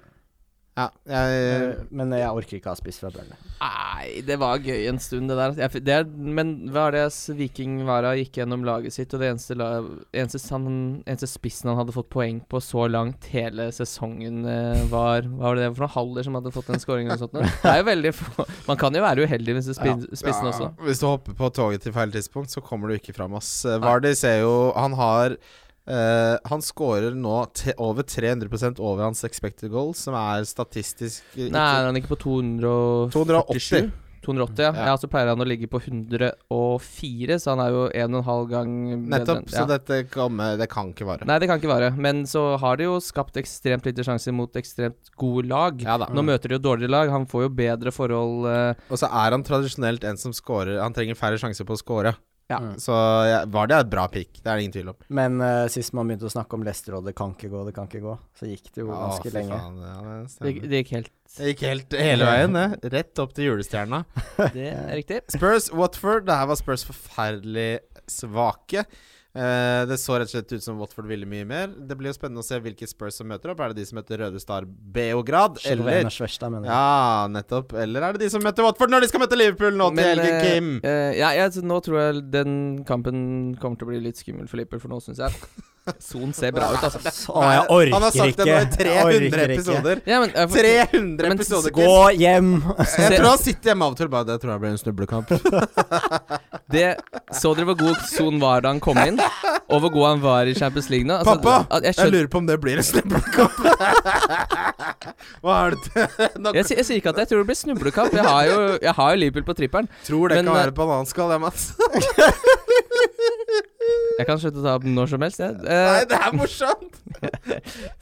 Speaker 3: Ja, jeg
Speaker 1: Men jeg orker ikke ha spiss fra Burnley.
Speaker 4: Nei, det var gøy en stund, det der. Jeg, f- det er, men hva er det s- Viking Vara gikk gjennom laget sitt, og det eneste, la, eneste, han, eneste spissen han hadde fått poeng på så langt hele sesongen, eh, var Hva var det for noen Haller som hadde fått en scoring eller noe sånt? nå? Det er jo veldig få Man kan jo være uheldig hvis du spin, spissen også.
Speaker 3: Ja, Hvis du hopper på toget til feil tidspunkt, så kommer du ikke fram. ass. Eh, Vardy ser jo Han har eh, Han scorer nå te over 300 over hans expected goal, som er statistisk eh,
Speaker 4: Nei, er han ikke på 200
Speaker 3: 280.
Speaker 4: 280, ja.
Speaker 3: Ja.
Speaker 4: ja. Så pleier han å ligge på 104, så han er jo en og en halv gang bedre
Speaker 3: Nettopp.
Speaker 4: enn-
Speaker 3: Så dette kan, det kan ikke vare.
Speaker 4: Nei, det kan ikke være. Men så har de jo skapt ekstremt lite sjanser mot ekstremt gode lag.
Speaker 3: Ja da.
Speaker 4: Nå møter de jo dårligere lag. Han får jo bedre forhold eh,
Speaker 3: Og så er han tradisjonelt en som scorer Han trenger færre sjanser på å score.
Speaker 4: Ja.
Speaker 1: Mm.
Speaker 3: Så ja, Vardy er et bra pick, det er det ingen tvil om.
Speaker 1: Men eh, sist man begynte å snakke om Leicester og det kan ikke gå, det kan ikke gå, så gikk det jo
Speaker 3: Å,
Speaker 1: ganske
Speaker 3: fy
Speaker 1: lenge.
Speaker 3: faen, ja, det
Speaker 4: det,
Speaker 3: stemmer.
Speaker 4: det gikk helt
Speaker 3: Det gikk helt hele veien, det. Rett opp til julestjerna.
Speaker 4: Det er riktig.
Speaker 3: Spurs, Watford. Det her var Spurs forferdelig svake. Eh, det så rett og slett ut som Watford ville mye mer. Det blir jo spennende å se hvilke Spurs som møter opp. Er det de som møter Røde Star Beograd,
Speaker 1: Slovenia
Speaker 3: eller
Speaker 1: Sverstad, mener jeg.
Speaker 3: Ja, nettopp. Eller er det de som møter Watford når de skal møte Liverpool nå til helgen,
Speaker 4: eh,
Speaker 3: Kim?
Speaker 4: eh, ja, jeg, nå tror jeg den kampen kommer til å bli litt skummel for Liverpool, for nå syns jeg Son ser bra ut, altså.
Speaker 1: Å, jeg orker ikke.
Speaker 3: Han har sagt det nå i
Speaker 1: Jeg
Speaker 3: 300
Speaker 1: orker ikke.
Speaker 3: episoder.
Speaker 4: Ja, men, eh, for-
Speaker 3: 300
Speaker 4: Men
Speaker 3: episoder,
Speaker 1: Gå
Speaker 3: Kim!
Speaker 1: hjem!
Speaker 3: Jeg tror han sitter hjemme av og til bare Det tror jeg blir en snublekamp.
Speaker 4: det, så dere hvor god Son var da han kom inn? Og hvor god han var i Champions League nå? Altså,
Speaker 3: Pappa,
Speaker 4: at jeg,
Speaker 3: Jeg
Speaker 4: skjønner,
Speaker 3: lurer på om det blir en snublekamp. Hva er det Nå
Speaker 4: jeg, sier- jeg sier ikke at jeg tror det blir snublekamp. Jeg har jo, jeg har jo Liverpool på trippelen.
Speaker 3: tror det
Speaker 4: Men,
Speaker 3: kan
Speaker 4: eh,
Speaker 3: være bananskall, jeg, Mats.
Speaker 4: Jeg kan slutte å ta opp når som helst. Jeg.
Speaker 3: Nei,
Speaker 4: Eh,
Speaker 3: det er morsomt!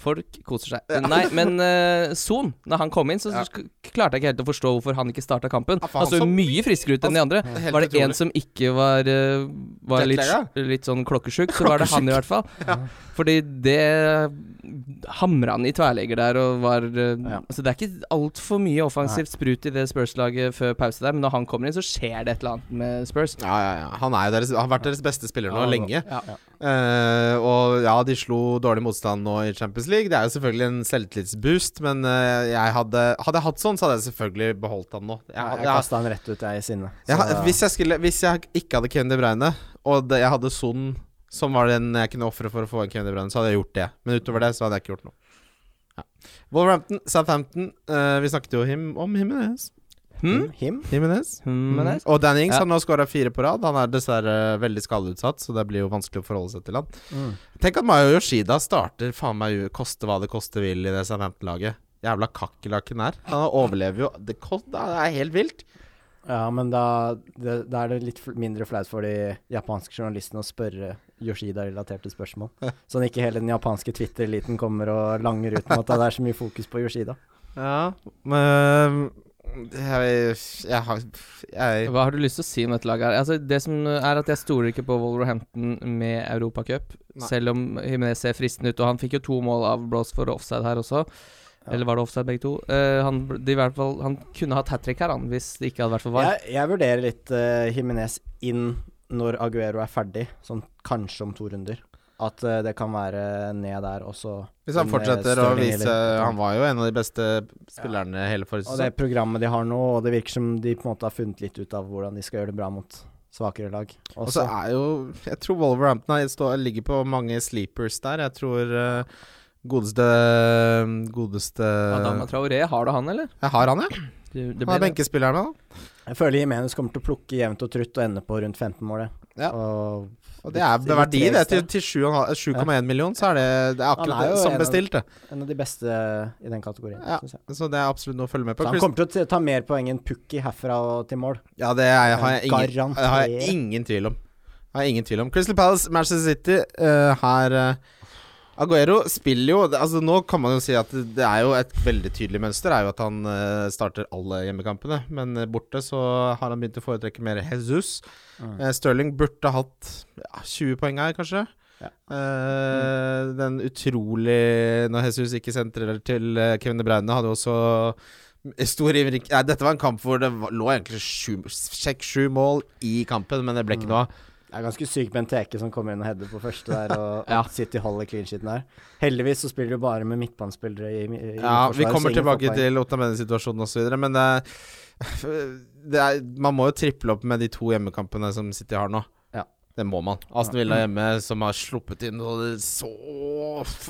Speaker 4: folk koser seg. Nei, men eh, Son, når han kom inn, så,
Speaker 3: Ja.
Speaker 4: sk- klarte jeg ikke helt å forstå hvorfor han ikke starta kampen.
Speaker 3: Ja, for
Speaker 4: Han
Speaker 3: han
Speaker 4: så jo
Speaker 3: som-
Speaker 4: mye friskere ut enn de andre.
Speaker 3: Helt
Speaker 4: Var det
Speaker 3: utrolig.
Speaker 4: en som ikke var, eh, var litt,
Speaker 3: Jetlag,
Speaker 4: litt sånn klokkesjuk, så var det han i hvert fall. Fordi det hamra han i tverrlegger der og var eh,
Speaker 1: Ja.
Speaker 4: Altså det er ikke altfor mye offensivt sprut i det Spurs-laget før pause der, men når han kommer inn, så skjer det et eller annet med Spurs.
Speaker 3: Ja, ja, ja. Han er jo deres, har vært deres beste spiller nå
Speaker 1: Ja,
Speaker 3: lenge.
Speaker 4: Ja.
Speaker 3: Eh, og ja, de slo dårlig motstand nå i Champions League. Det er jo selvfølgelig en selvtillitsboost, men eh, jeg hadde, hadde jeg hatt sånn, så hadde jeg selvfølgelig beholdt han nå. Jeg,
Speaker 1: Jeg
Speaker 3: jeg, jeg,
Speaker 1: kasta han rett ut, jeg, i sinne.
Speaker 3: jeg- hvis, jeg skulle, hvis jeg ikke hadde Kevin De Bruyne, og det, jeg hadde Son, som var den jeg kunne ofre for å få en Kevin De Bruyne, så hadde jeg gjort det. Men utover det så hadde jeg ikke gjort noe. Wolverhampton, Southampton. eh, vi snakket jo him om Himinez. Mm?
Speaker 4: Hm?
Speaker 1: eh, Him?
Speaker 3: Jimenez.
Speaker 4: Hm?
Speaker 3: Og Danny Ings
Speaker 4: Ja.
Speaker 3: har nå skåra fire på rad. Han er dessverre veldig skadeutsatt, så det blir jo vanskelig å forholde seg til han.
Speaker 1: Mm.
Speaker 3: Tenk at Mayo Yoshida starter faen meg koste hva det koste vil i det Southampton-laget. Jævla kakerlakken her. Han overlever jo Det, kost, det er helt vilt.
Speaker 1: Ja, men da, det, da er det litt fl- mindre flaut for de japanske journalistene å spørre Yoshida-relaterte spørsmål. Sånn ikke hele den japanske Twitter-eliten kommer og langer ut med at det er så mye fokus på Yoshida.
Speaker 3: Ja, men Jeg, jeg har jeg,
Speaker 4: Hva har du lyst til å si om dette laget? her? Altså, det som er at Jeg stoler ikke på Wolverhampton med Europacup,
Speaker 3: Nei.
Speaker 4: selv om Jimenez ser fristende ut. Og han fikk jo to mål avblåst for offside her også. Eller var det offside, begge to? Eh, han, bl- de, i hvert fall, han kunne hatt hat trick her, han, hvis det ikke hadde vært for VAR.
Speaker 1: Jeg, jeg vurderer litt uh, Jimenez inn når Aguero er ferdig, sånn kanskje om to runder. At eh, det kan være ned der, og så
Speaker 3: Hvis han
Speaker 1: med
Speaker 3: fortsetter å
Speaker 1: Sterling
Speaker 3: vise
Speaker 1: eller-
Speaker 3: Han var jo en av de beste spillerne hele forrige
Speaker 1: Og
Speaker 3: sesong.
Speaker 1: det programmet de har nå, og det virker som de på en måte har funnet litt ut av hvordan de skal gjøre det bra mot svakere lag.
Speaker 3: Og så
Speaker 1: Også,
Speaker 3: er jo Jeg tror Wolverhampton er, står, ligger på mange sleepers der. Jeg tror eh, godeste Godeste
Speaker 4: Adama Traoré, har du han, eller?
Speaker 3: Jeg har han, jeg.
Speaker 4: Det,
Speaker 3: Han
Speaker 4: det ble
Speaker 3: er benkespilleren min.
Speaker 1: jeg føler Jimenez kommer til å plukke jevnt og trutt og ende på rundt 15-målet.
Speaker 3: Ja.
Speaker 1: Og
Speaker 3: Og det er
Speaker 1: Litt-
Speaker 3: det er verdi,
Speaker 1: litt
Speaker 3: det.
Speaker 1: trist,
Speaker 3: Til, til 7,5 7,1 million, så er det, det er akkurat
Speaker 1: Han er jo
Speaker 3: det, som
Speaker 1: en av-
Speaker 3: bestilt, det.
Speaker 1: en av de beste i den kategorien,
Speaker 3: Ja.
Speaker 1: synes jeg.
Speaker 3: Så det er absolutt noe å følge med på.
Speaker 1: Så han
Speaker 3: Chris-
Speaker 1: kommer til å t- ta mer poeng enn Pukki herfra og til mål.
Speaker 3: Ja, det er, har, jeg ingen,
Speaker 1: Garantert.
Speaker 3: det har jeg ingen tvil om. Det Har jeg ingen tvil om. Crystal Palace, Manchester City eh, her eh, Aguero spiller jo det- altså Nå kan man jo si at det det er jo et veldig tydelig mønster. er jo at han eh, starter alle hjemmekampene, men eh, borte så har han begynt å foretrekke mer Jesus.
Speaker 1: Mm.
Speaker 3: Eh, Sterling burde hatt ja, 20 poeng her, kanskje.
Speaker 1: Ja.
Speaker 3: Eh, Den utrolig Når Jesus ikke sentrer til eh, Kevin De Bruyne, hadde jo også stor innvirk- Nei, Dette var en kamp hvor det var, lå egentlig sju- seks-sju mål i kampen, men det ble ikke noe av.
Speaker 1: Det er ganske sykt med en teke som kommer inn og header på første der, og,
Speaker 4: Ja.
Speaker 1: og City holder clean sheeten der. Heldigvis så spiller du bare med midtbanespillere i, i
Speaker 3: Ja,
Speaker 1: forsvaret,
Speaker 3: vi
Speaker 1: så
Speaker 3: kommer
Speaker 1: ingen får
Speaker 3: tilbake
Speaker 1: poeng.
Speaker 3: til Otamendi-situasjonen osv., men det, er- det er, man må jo triple opp med de to hjemmekampene som City har nå.
Speaker 1: Ja.
Speaker 3: Det må man. Aston Villa hjemme, som har sluppet inn noe så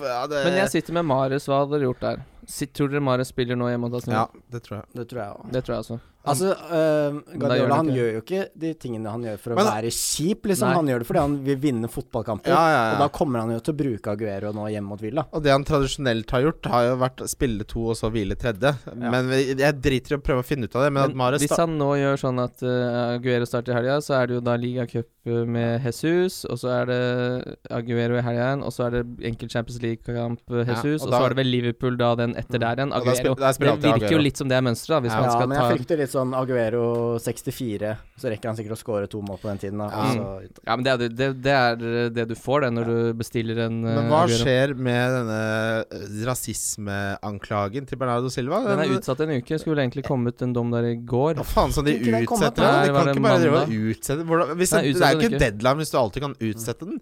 Speaker 3: ja, det,
Speaker 4: Men jeg sitter med Marius, hva hadde dere gjort der? Sitt- tror dere Marius spiller nå hjemme hos Aston
Speaker 3: Ja,
Speaker 4: Villa?
Speaker 3: det tror jeg.
Speaker 1: Det tror jeg òg.
Speaker 4: Det tror jeg også.
Speaker 1: Altså, eh,
Speaker 4: da gjør
Speaker 1: Guardiola
Speaker 4: han
Speaker 1: han
Speaker 4: ikke
Speaker 1: gjør jo ikke de tingene han gjør for å
Speaker 3: Men da-
Speaker 1: være kjip, liksom.
Speaker 4: Nei.
Speaker 1: Han gjør det fordi han vil vinne fotballkamper.
Speaker 3: Ja, ja, ja.
Speaker 1: Og da kommer han jo til å bruke Aguero nå hjemme mot Villa.
Speaker 3: Og det han tradisjonelt har gjort, har jo vært å spille to og så hvile tredje. Men vi- jeg driter i å prøve å finne ut av det. Men,
Speaker 4: Men
Speaker 3: at Mares
Speaker 4: hvis
Speaker 3: sta-
Speaker 4: han nå gjør sånn at eh, Aguero starter i helga, så er det jo da ligacup eh, med Jesus, og så er det Aguero i helga igjen, og så er det enkel Champions League-kamp eh,
Speaker 3: Ja,
Speaker 4: Jesus,
Speaker 3: og
Speaker 4: og,
Speaker 3: da- Mm.
Speaker 4: så er det vel Liverpool da den etter der igjen.
Speaker 3: Og da
Speaker 4: Aguero.
Speaker 3: spil- da spiller
Speaker 4: det
Speaker 3: alltid
Speaker 4: virker
Speaker 3: Aguero.
Speaker 4: jo litt som det er mønsteret, hvis
Speaker 3: Ja,
Speaker 4: man
Speaker 1: Ja,
Speaker 4: skal
Speaker 1: men
Speaker 4: ta
Speaker 1: jeg frykter litt sånn Aguero 64, så rekker han sikkert å score to mål på den tiden. Da.
Speaker 3: Ja.
Speaker 1: og så-
Speaker 4: Ja, Mm. men det er, det, det er eh, det du får, det, når du bestiller en eh,
Speaker 3: men hva
Speaker 4: Aguero.
Speaker 3: skjer med denne eh, rasismeanklagen til Bernardo Silva?
Speaker 4: Den er utsatt en uke. Skulle egentlig kommet en dom der i går.
Speaker 3: Hva faen som de
Speaker 1: Kunne ikke den kommet
Speaker 3: utsetter den? De
Speaker 4: nå? Nei, var
Speaker 3: kan
Speaker 4: det
Speaker 3: ikke bare drive og
Speaker 4: mandag?
Speaker 3: utsette Hvordan, hvis
Speaker 4: Nei,
Speaker 3: det, det
Speaker 4: utsett
Speaker 3: er jo
Speaker 4: den
Speaker 3: ikke en deadline hvis du alltid kan utsette den.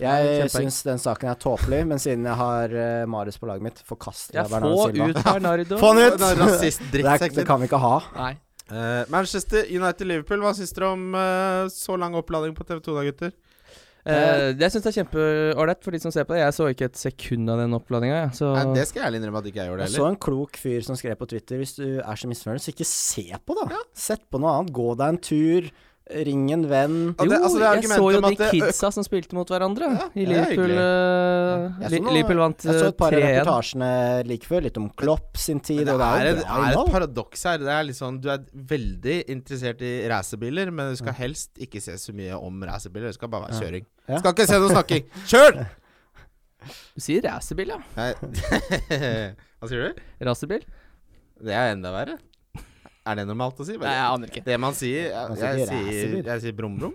Speaker 4: Ja,
Speaker 1: Jeg
Speaker 4: kjempepoeng.
Speaker 1: syns den saken er tåpelig, men siden jeg har eh, Marius på laget mitt, forkaster
Speaker 4: Ja,
Speaker 1: jeg
Speaker 4: få
Speaker 1: Bernardo Silva.
Speaker 4: ut Bernardo.
Speaker 1: Få han ut!
Speaker 3: Den
Speaker 1: Det, er, det
Speaker 3: rasist-drittsekken.
Speaker 1: kan vi ikke ha.
Speaker 4: Nei.
Speaker 3: Eh, Manchester United-Liverpool, hva syns dere om eh, så lang oppladning på TV2 da, gutter?
Speaker 4: Eh, det syns jeg er kjempeålreit for de som ser på det. Jeg så ikke et sekund av den oppladninga, jeg. Så
Speaker 3: Nei, det skal jeg ærlig innrømme at ikke jeg gjorde
Speaker 1: Jeg
Speaker 3: det
Speaker 1: så
Speaker 3: heller.
Speaker 1: en klok fyr som skrev på Twitter Hvis du er så misfornøyd, så ikke se på, da. Sett på noe annet. Gå deg en tur. Ring en venn.
Speaker 3: Og det-
Speaker 4: jo,
Speaker 3: altså, det er
Speaker 4: jeg så
Speaker 3: argumentet
Speaker 4: jo
Speaker 3: om
Speaker 4: de
Speaker 3: at det-
Speaker 4: kidsa som spilte mot hverandre
Speaker 3: det
Speaker 4: i
Speaker 3: er
Speaker 4: Liverpool.
Speaker 3: hyggelig.
Speaker 4: eh,
Speaker 1: Jeg så
Speaker 4: Li-
Speaker 1: noe-
Speaker 4: Liverpool vant
Speaker 1: Jeg så
Speaker 4: eh,
Speaker 1: et par av
Speaker 4: 3-1.
Speaker 1: reportasjene like før, litt om Klopp sin tid,
Speaker 3: Det
Speaker 1: og det er,
Speaker 3: er,
Speaker 1: jo
Speaker 3: et-
Speaker 1: bra
Speaker 3: er et
Speaker 1: innhold.
Speaker 3: paradoks her. Det er litt sånn, Du er veldig interessert i racerbiler, men du skal helst ikke se så mye om racerbiler. Det skal bare være kjøring.
Speaker 1: Ja.
Speaker 3: Skal ikke se noe snakking. Kjør!
Speaker 4: Du sier racerbil, ja.
Speaker 3: Nei. Hva sier du?
Speaker 4: Racerbil?
Speaker 3: Det er enda verre. Er det normalt å si?
Speaker 4: Nei, jeg aner ikke.
Speaker 3: Det man sier Jeg,
Speaker 1: Man sier
Speaker 3: jeg,
Speaker 1: ikke
Speaker 3: sier,
Speaker 1: racerbil.
Speaker 3: jeg sier brum-brum.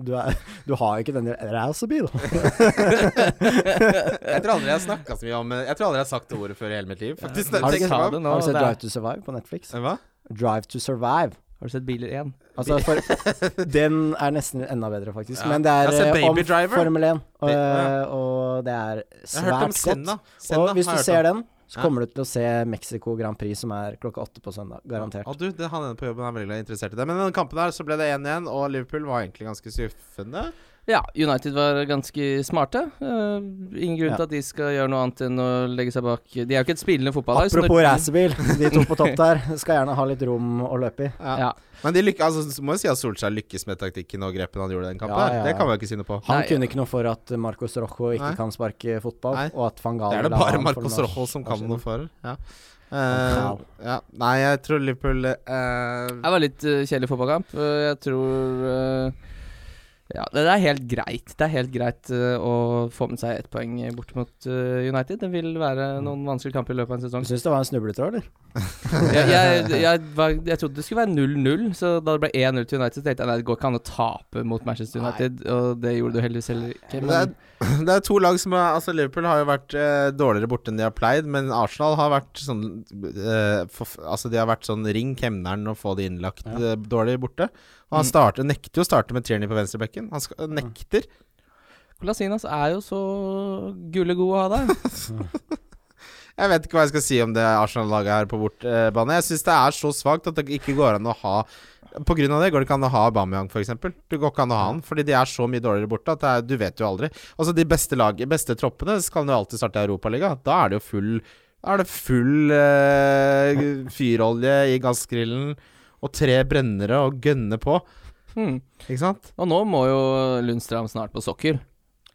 Speaker 1: Du, er, du har jo ikke den racerbilen.
Speaker 3: Jeg tror aldri jeg har snakka så mye om Jeg tror aldri jeg har sagt det ordet før i hele mitt liv. Faktisk,
Speaker 1: Har du
Speaker 3: tenk
Speaker 1: ikke-
Speaker 3: meg
Speaker 4: Ta
Speaker 3: om.
Speaker 4: det nå.
Speaker 1: Har du sett
Speaker 4: det er-
Speaker 1: Drive to Survive på Netflix?
Speaker 3: Hva?
Speaker 1: Drive to Survive.
Speaker 4: Har du sett biler 1?
Speaker 1: Altså, for, den er nesten enda bedre, faktisk.
Speaker 3: Ja.
Speaker 1: Men det
Speaker 3: Jeg har
Speaker 1: er
Speaker 3: sett
Speaker 1: eh, om
Speaker 3: Baby Driver.
Speaker 1: Formel 1, og,
Speaker 3: Det- ja.
Speaker 1: og det er svært godt.
Speaker 3: Jeg har hørt om Senna. Senna
Speaker 1: og hvis
Speaker 3: har
Speaker 1: du
Speaker 3: jeg hørt
Speaker 1: ser
Speaker 3: om.
Speaker 1: den, så
Speaker 3: Ja.
Speaker 1: kommer du til å se Mexico Grand Prix, som er klokka åtte på søndag. Garantert.
Speaker 3: Å, du, det, han ene på jobben er veldig interessert i det. Men i den kampen her så ble det 1-1, og Liverpool var egentlig ganske skuffende.
Speaker 4: Ja, United var ganske smarte. Eh, ingen grunn
Speaker 1: Ja.
Speaker 4: til at de skal gjøre noe annet enn å legge seg bak De er jo ikke et spillende fotballag. så når-
Speaker 1: Apropos racerbil, de to på topp der skal gjerne ha litt rom å løpe i.
Speaker 3: Ja.
Speaker 4: Ja.
Speaker 3: Men de lykke, altså, så må jo si at Solskjær lykkes med taktikken og grepene han gjorde i den kampen.
Speaker 1: Ja,
Speaker 3: her.
Speaker 1: ja,
Speaker 3: Det
Speaker 1: ja.
Speaker 3: kan man jo ikke si noe på.
Speaker 1: Han
Speaker 4: Nei,
Speaker 1: kunne ikke noe for at Marcos Rojo ikke
Speaker 3: Nei.
Speaker 1: kan sparke fotball,
Speaker 3: Nei.
Speaker 1: og at Fangal
Speaker 3: Det er det bare Marcos Rojo som kan noe for. Ja. Eh, ja. Nei, jeg tror Liverpool eh,
Speaker 4: Det var litt eh, kjedelig fotballkamp. Eh, jeg tror eh, Ja, det er helt greit. Det er helt greit eh, å få med seg ett poeng eh, bort mot eh, United. Det vil være noen vanskelige kamper i løpet av en sesong.
Speaker 1: Du syns det var en snubletråd, eller?
Speaker 4: jeg, jeg, jeg, var, jeg trodde det skulle være 0-0, så da det ble 1-0 til United, tenkte jeg nei, det går ikke an å tape mot Manchester United, og det gjorde du heldigvis heller ikke.
Speaker 3: det er,
Speaker 4: Men
Speaker 3: det er to lag som er, altså Liverpool har jo vært eh, dårligere borte enn de har pleid, men Arsenal har vært sånn eh, forf- Altså De har vært sånn ring kemneren og få det innlagt
Speaker 1: Ja.
Speaker 3: eh, dårlig borte. Og han starter, nekter jo å starte med Tierney på venstrebekken. Han skal, nekter.
Speaker 4: Colasinas er jo så gullegod å ha der.
Speaker 3: Jeg vet ikke hva jeg skal si om det Arsenal-laget her på bortbane. Jeg syns det er så svakt at det ikke går an å ha På grunn av det går det ikke an å ha Aubameyang, f.eks. Det går ikke an å ha han, fordi de er så mye dårligere borte at det er, du vet jo aldri. Altså, de beste lag, beste troppene skal jo alltid starte i Europaligaen. Da er det jo full Da er det full eh, fyrolje i gassgrillen og tre brennere og gønne på,
Speaker 4: Hmm.
Speaker 3: ikke sant?
Speaker 4: Og nå må jo Lundstram snart på sokker.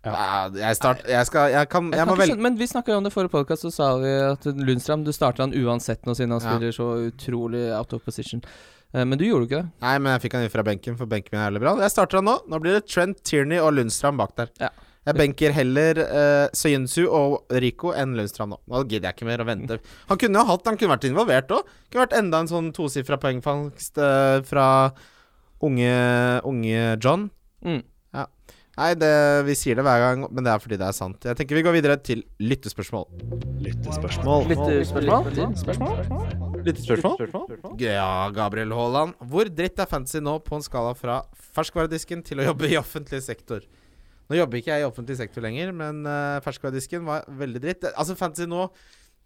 Speaker 3: Ja. Jeg, start, jeg skal Jeg kan
Speaker 4: Jeg
Speaker 3: Jeg,
Speaker 4: kan
Speaker 3: må
Speaker 4: ikke
Speaker 3: velge
Speaker 4: skjønne, men vi snakka jo om det i forrige podkast, så sa vi at Lundstram Du starter han uansett nå, siden han
Speaker 3: Ja.
Speaker 4: spiller så utrolig out of position. Eh, Men du gjorde jo ikke det.
Speaker 3: Nei, men jeg fikk han inn fra benken, for benken min er jævlig bra. Jeg starter han nå. Nå blir det Trent, Tierney og Lundstrand bak der.
Speaker 4: Ja.
Speaker 3: Jeg benker heller uh, Søyensu og Rico enn Lundstrand nå. Nå gidder jeg ikke mer å vente. Han kunne jo hatt Han kunne vært involvert òg. Kunne vært enda en sånn tosifra poengfangst eh, fra unge, unge John.
Speaker 4: Mm.
Speaker 3: Nei, det, vi sier det hver gang, men det er fordi det er sant. Jeg tenker vi går videre til lyttespørsmål.
Speaker 5: Lyttespørsmål.
Speaker 3: Ja, Gabriel Haaland. Hvor dritt er fantasy nå på en skala fra ferskvaredisken til å jobbe i offentlig sektor? Nå jobber ikke jeg i offentlig sektor lenger, men eh, ferskvaredisken var veldig dritt. Altså, fantasy nå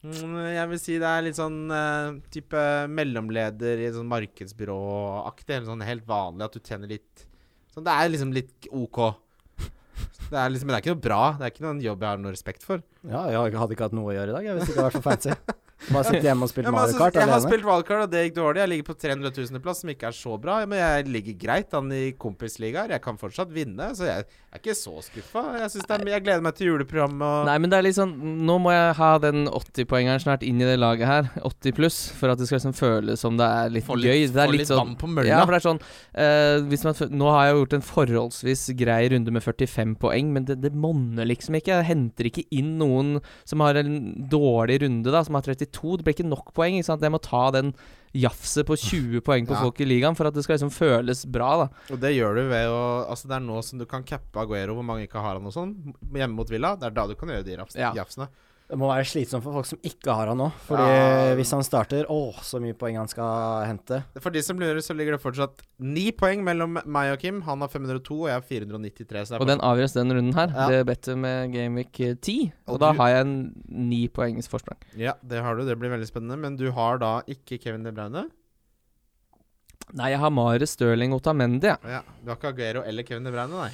Speaker 3: mm, Jeg vil si det er litt sånn eh, type mellomleder i sånn markedsbyråaktig. Eller sånn helt vanlig at du tjener litt Sånn, det er liksom litt OK. Det er liksom, men det er ikke noe bra. Det er ikke noen jobb jeg har noe respekt for.
Speaker 1: Ja, jeg hadde ikke hatt noe å gjøre i dag, jeg, hvis det ikke hadde vært for fancy. Bare sitte hjemme og
Speaker 3: Ja,
Speaker 1: spille
Speaker 3: men
Speaker 1: Mario
Speaker 3: altså,
Speaker 1: Kart
Speaker 3: jeg har
Speaker 1: alene.
Speaker 3: spilt wildcard, og det gikk dårlig. Jeg ligger på 300 000.-plass, som ikke er så bra. Men jeg ligger greit an i kompisligaer. Jeg kan fortsatt vinne, så jeg er ikke så skuffa. Jeg, synes det er, jeg gleder meg til juleprogrammet og
Speaker 4: Nei, men det er litt sånn Nå må jeg ha den 80-poengeren snart inn i det laget her. 80 pluss. For at det skal liksom føles som det er litt,
Speaker 3: Få
Speaker 4: gøy. Det
Speaker 3: få
Speaker 4: er litt, sånn
Speaker 3: vann på mølla.
Speaker 4: Ja, for det er sånn eh, hvis man, fø- Nå har jeg jo gjort en forholdsvis grei runde med 45 poeng, men det, det monner liksom ikke. Jeg henter ikke inn noen som har en dårlig runde, da, som har 32. Det blir ikke nok poeng. Ikke sant? Jeg må ta den jafset på 20 poeng på
Speaker 3: Ja.
Speaker 4: folk i ligaen for at det skal liksom føles bra, da.
Speaker 3: Og det gjør du ved å Altså, det er nå som du kan cappe Aguero, hvor mange ikke har han og sånn, hjemme mot Villa. Det er da du kan gjøre de raps-
Speaker 4: Ja.
Speaker 3: jafsene.
Speaker 1: Det må være slitsomt for folk som ikke har han nå. Fordi
Speaker 3: Ja.
Speaker 1: hvis han starter, å, så mye poeng han skal hente.
Speaker 3: For de som lurer, så ligger det fortsatt ni poeng mellom meg og Kim. Han har 502, og jeg har 493, så det er
Speaker 4: Og den avgjøres den runden her.
Speaker 3: Ja.
Speaker 4: Det er bedt med Gameweek 10. Og,
Speaker 3: Og
Speaker 4: da
Speaker 3: du-
Speaker 4: har jeg en ni poengs forsprang.
Speaker 3: Ja, det har du. Det blir veldig spennende. Men du har da ikke Kevin De Bruyne.
Speaker 4: Nei, jeg har Mare Stirling Otamendi, jeg.
Speaker 3: Ja, du har ikke Aguero eller Kevin De Bruyne, nei.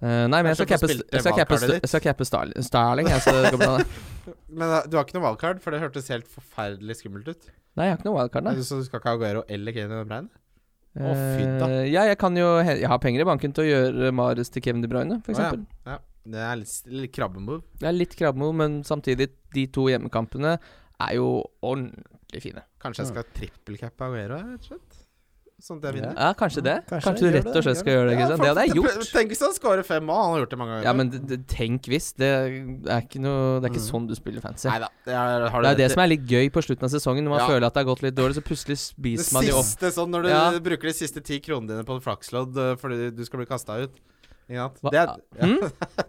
Speaker 4: Eh, nei, men jeg skal
Speaker 3: Kanskje du
Speaker 4: cappe
Speaker 3: får spilt
Speaker 4: jeg skal cappe
Speaker 3: wildcardet
Speaker 4: St-
Speaker 3: ditt?
Speaker 4: jeg skal cappe Starl- Starling. Jeg skal gå blant annet.
Speaker 3: Men eh, du har ikke noe wildcard, for det hørtes helt forferdelig skummelt ut.
Speaker 4: Nei, jeg har ikke noe wildcard, nei.
Speaker 3: Nei. Så du skal ikke ha Aguero eller Kevin De Bruyne? Å, fy da.
Speaker 4: Eh, ja, jeg kan jo he- Jeg har penger i banken til å gjøre Mares til Kevin De Bruyne,
Speaker 3: Å,
Speaker 4: f.eks. eksempel
Speaker 3: ja. ja. Det er litt, litt krabbemove.
Speaker 4: Det er litt krabbemo, men samtidig, de to hjemmekampene er jo ordentlig fine.
Speaker 3: Kanskje jeg skal trippelcappe Aguero, jeg, rett og slett? Sånn at jeg vinner.
Speaker 4: Mm. Ja, kanskje det.
Speaker 1: Kanskje,
Speaker 4: Kanskje, du
Speaker 1: gjør
Speaker 4: rett og slett skal gjøre det. Kristian. Det hadde jeg
Speaker 3: for-
Speaker 4: gjort.
Speaker 3: Tenk hvis han scorer fem mål. Han har gjort det mange ganger.
Speaker 4: Ja, men d- d- tenk hvis. Det er ikke noe Det er ikke sånn du spiller fancy.
Speaker 3: Nei da, det er, har du
Speaker 4: Det er
Speaker 3: rett i.
Speaker 4: det som er litt gøy på slutten av sesongen, når man
Speaker 3: Ja.
Speaker 4: føler at det har gått litt dårlig, så plutselig spiser man
Speaker 3: det
Speaker 4: de opp.
Speaker 3: siste, sånn når du
Speaker 4: Ja.
Speaker 3: bruker de siste ti kronene dine på en flakslodd øh, fordi du skal bli kasta ut. Ikke sant?
Speaker 4: Hva- Hm?
Speaker 3: Det er, ja.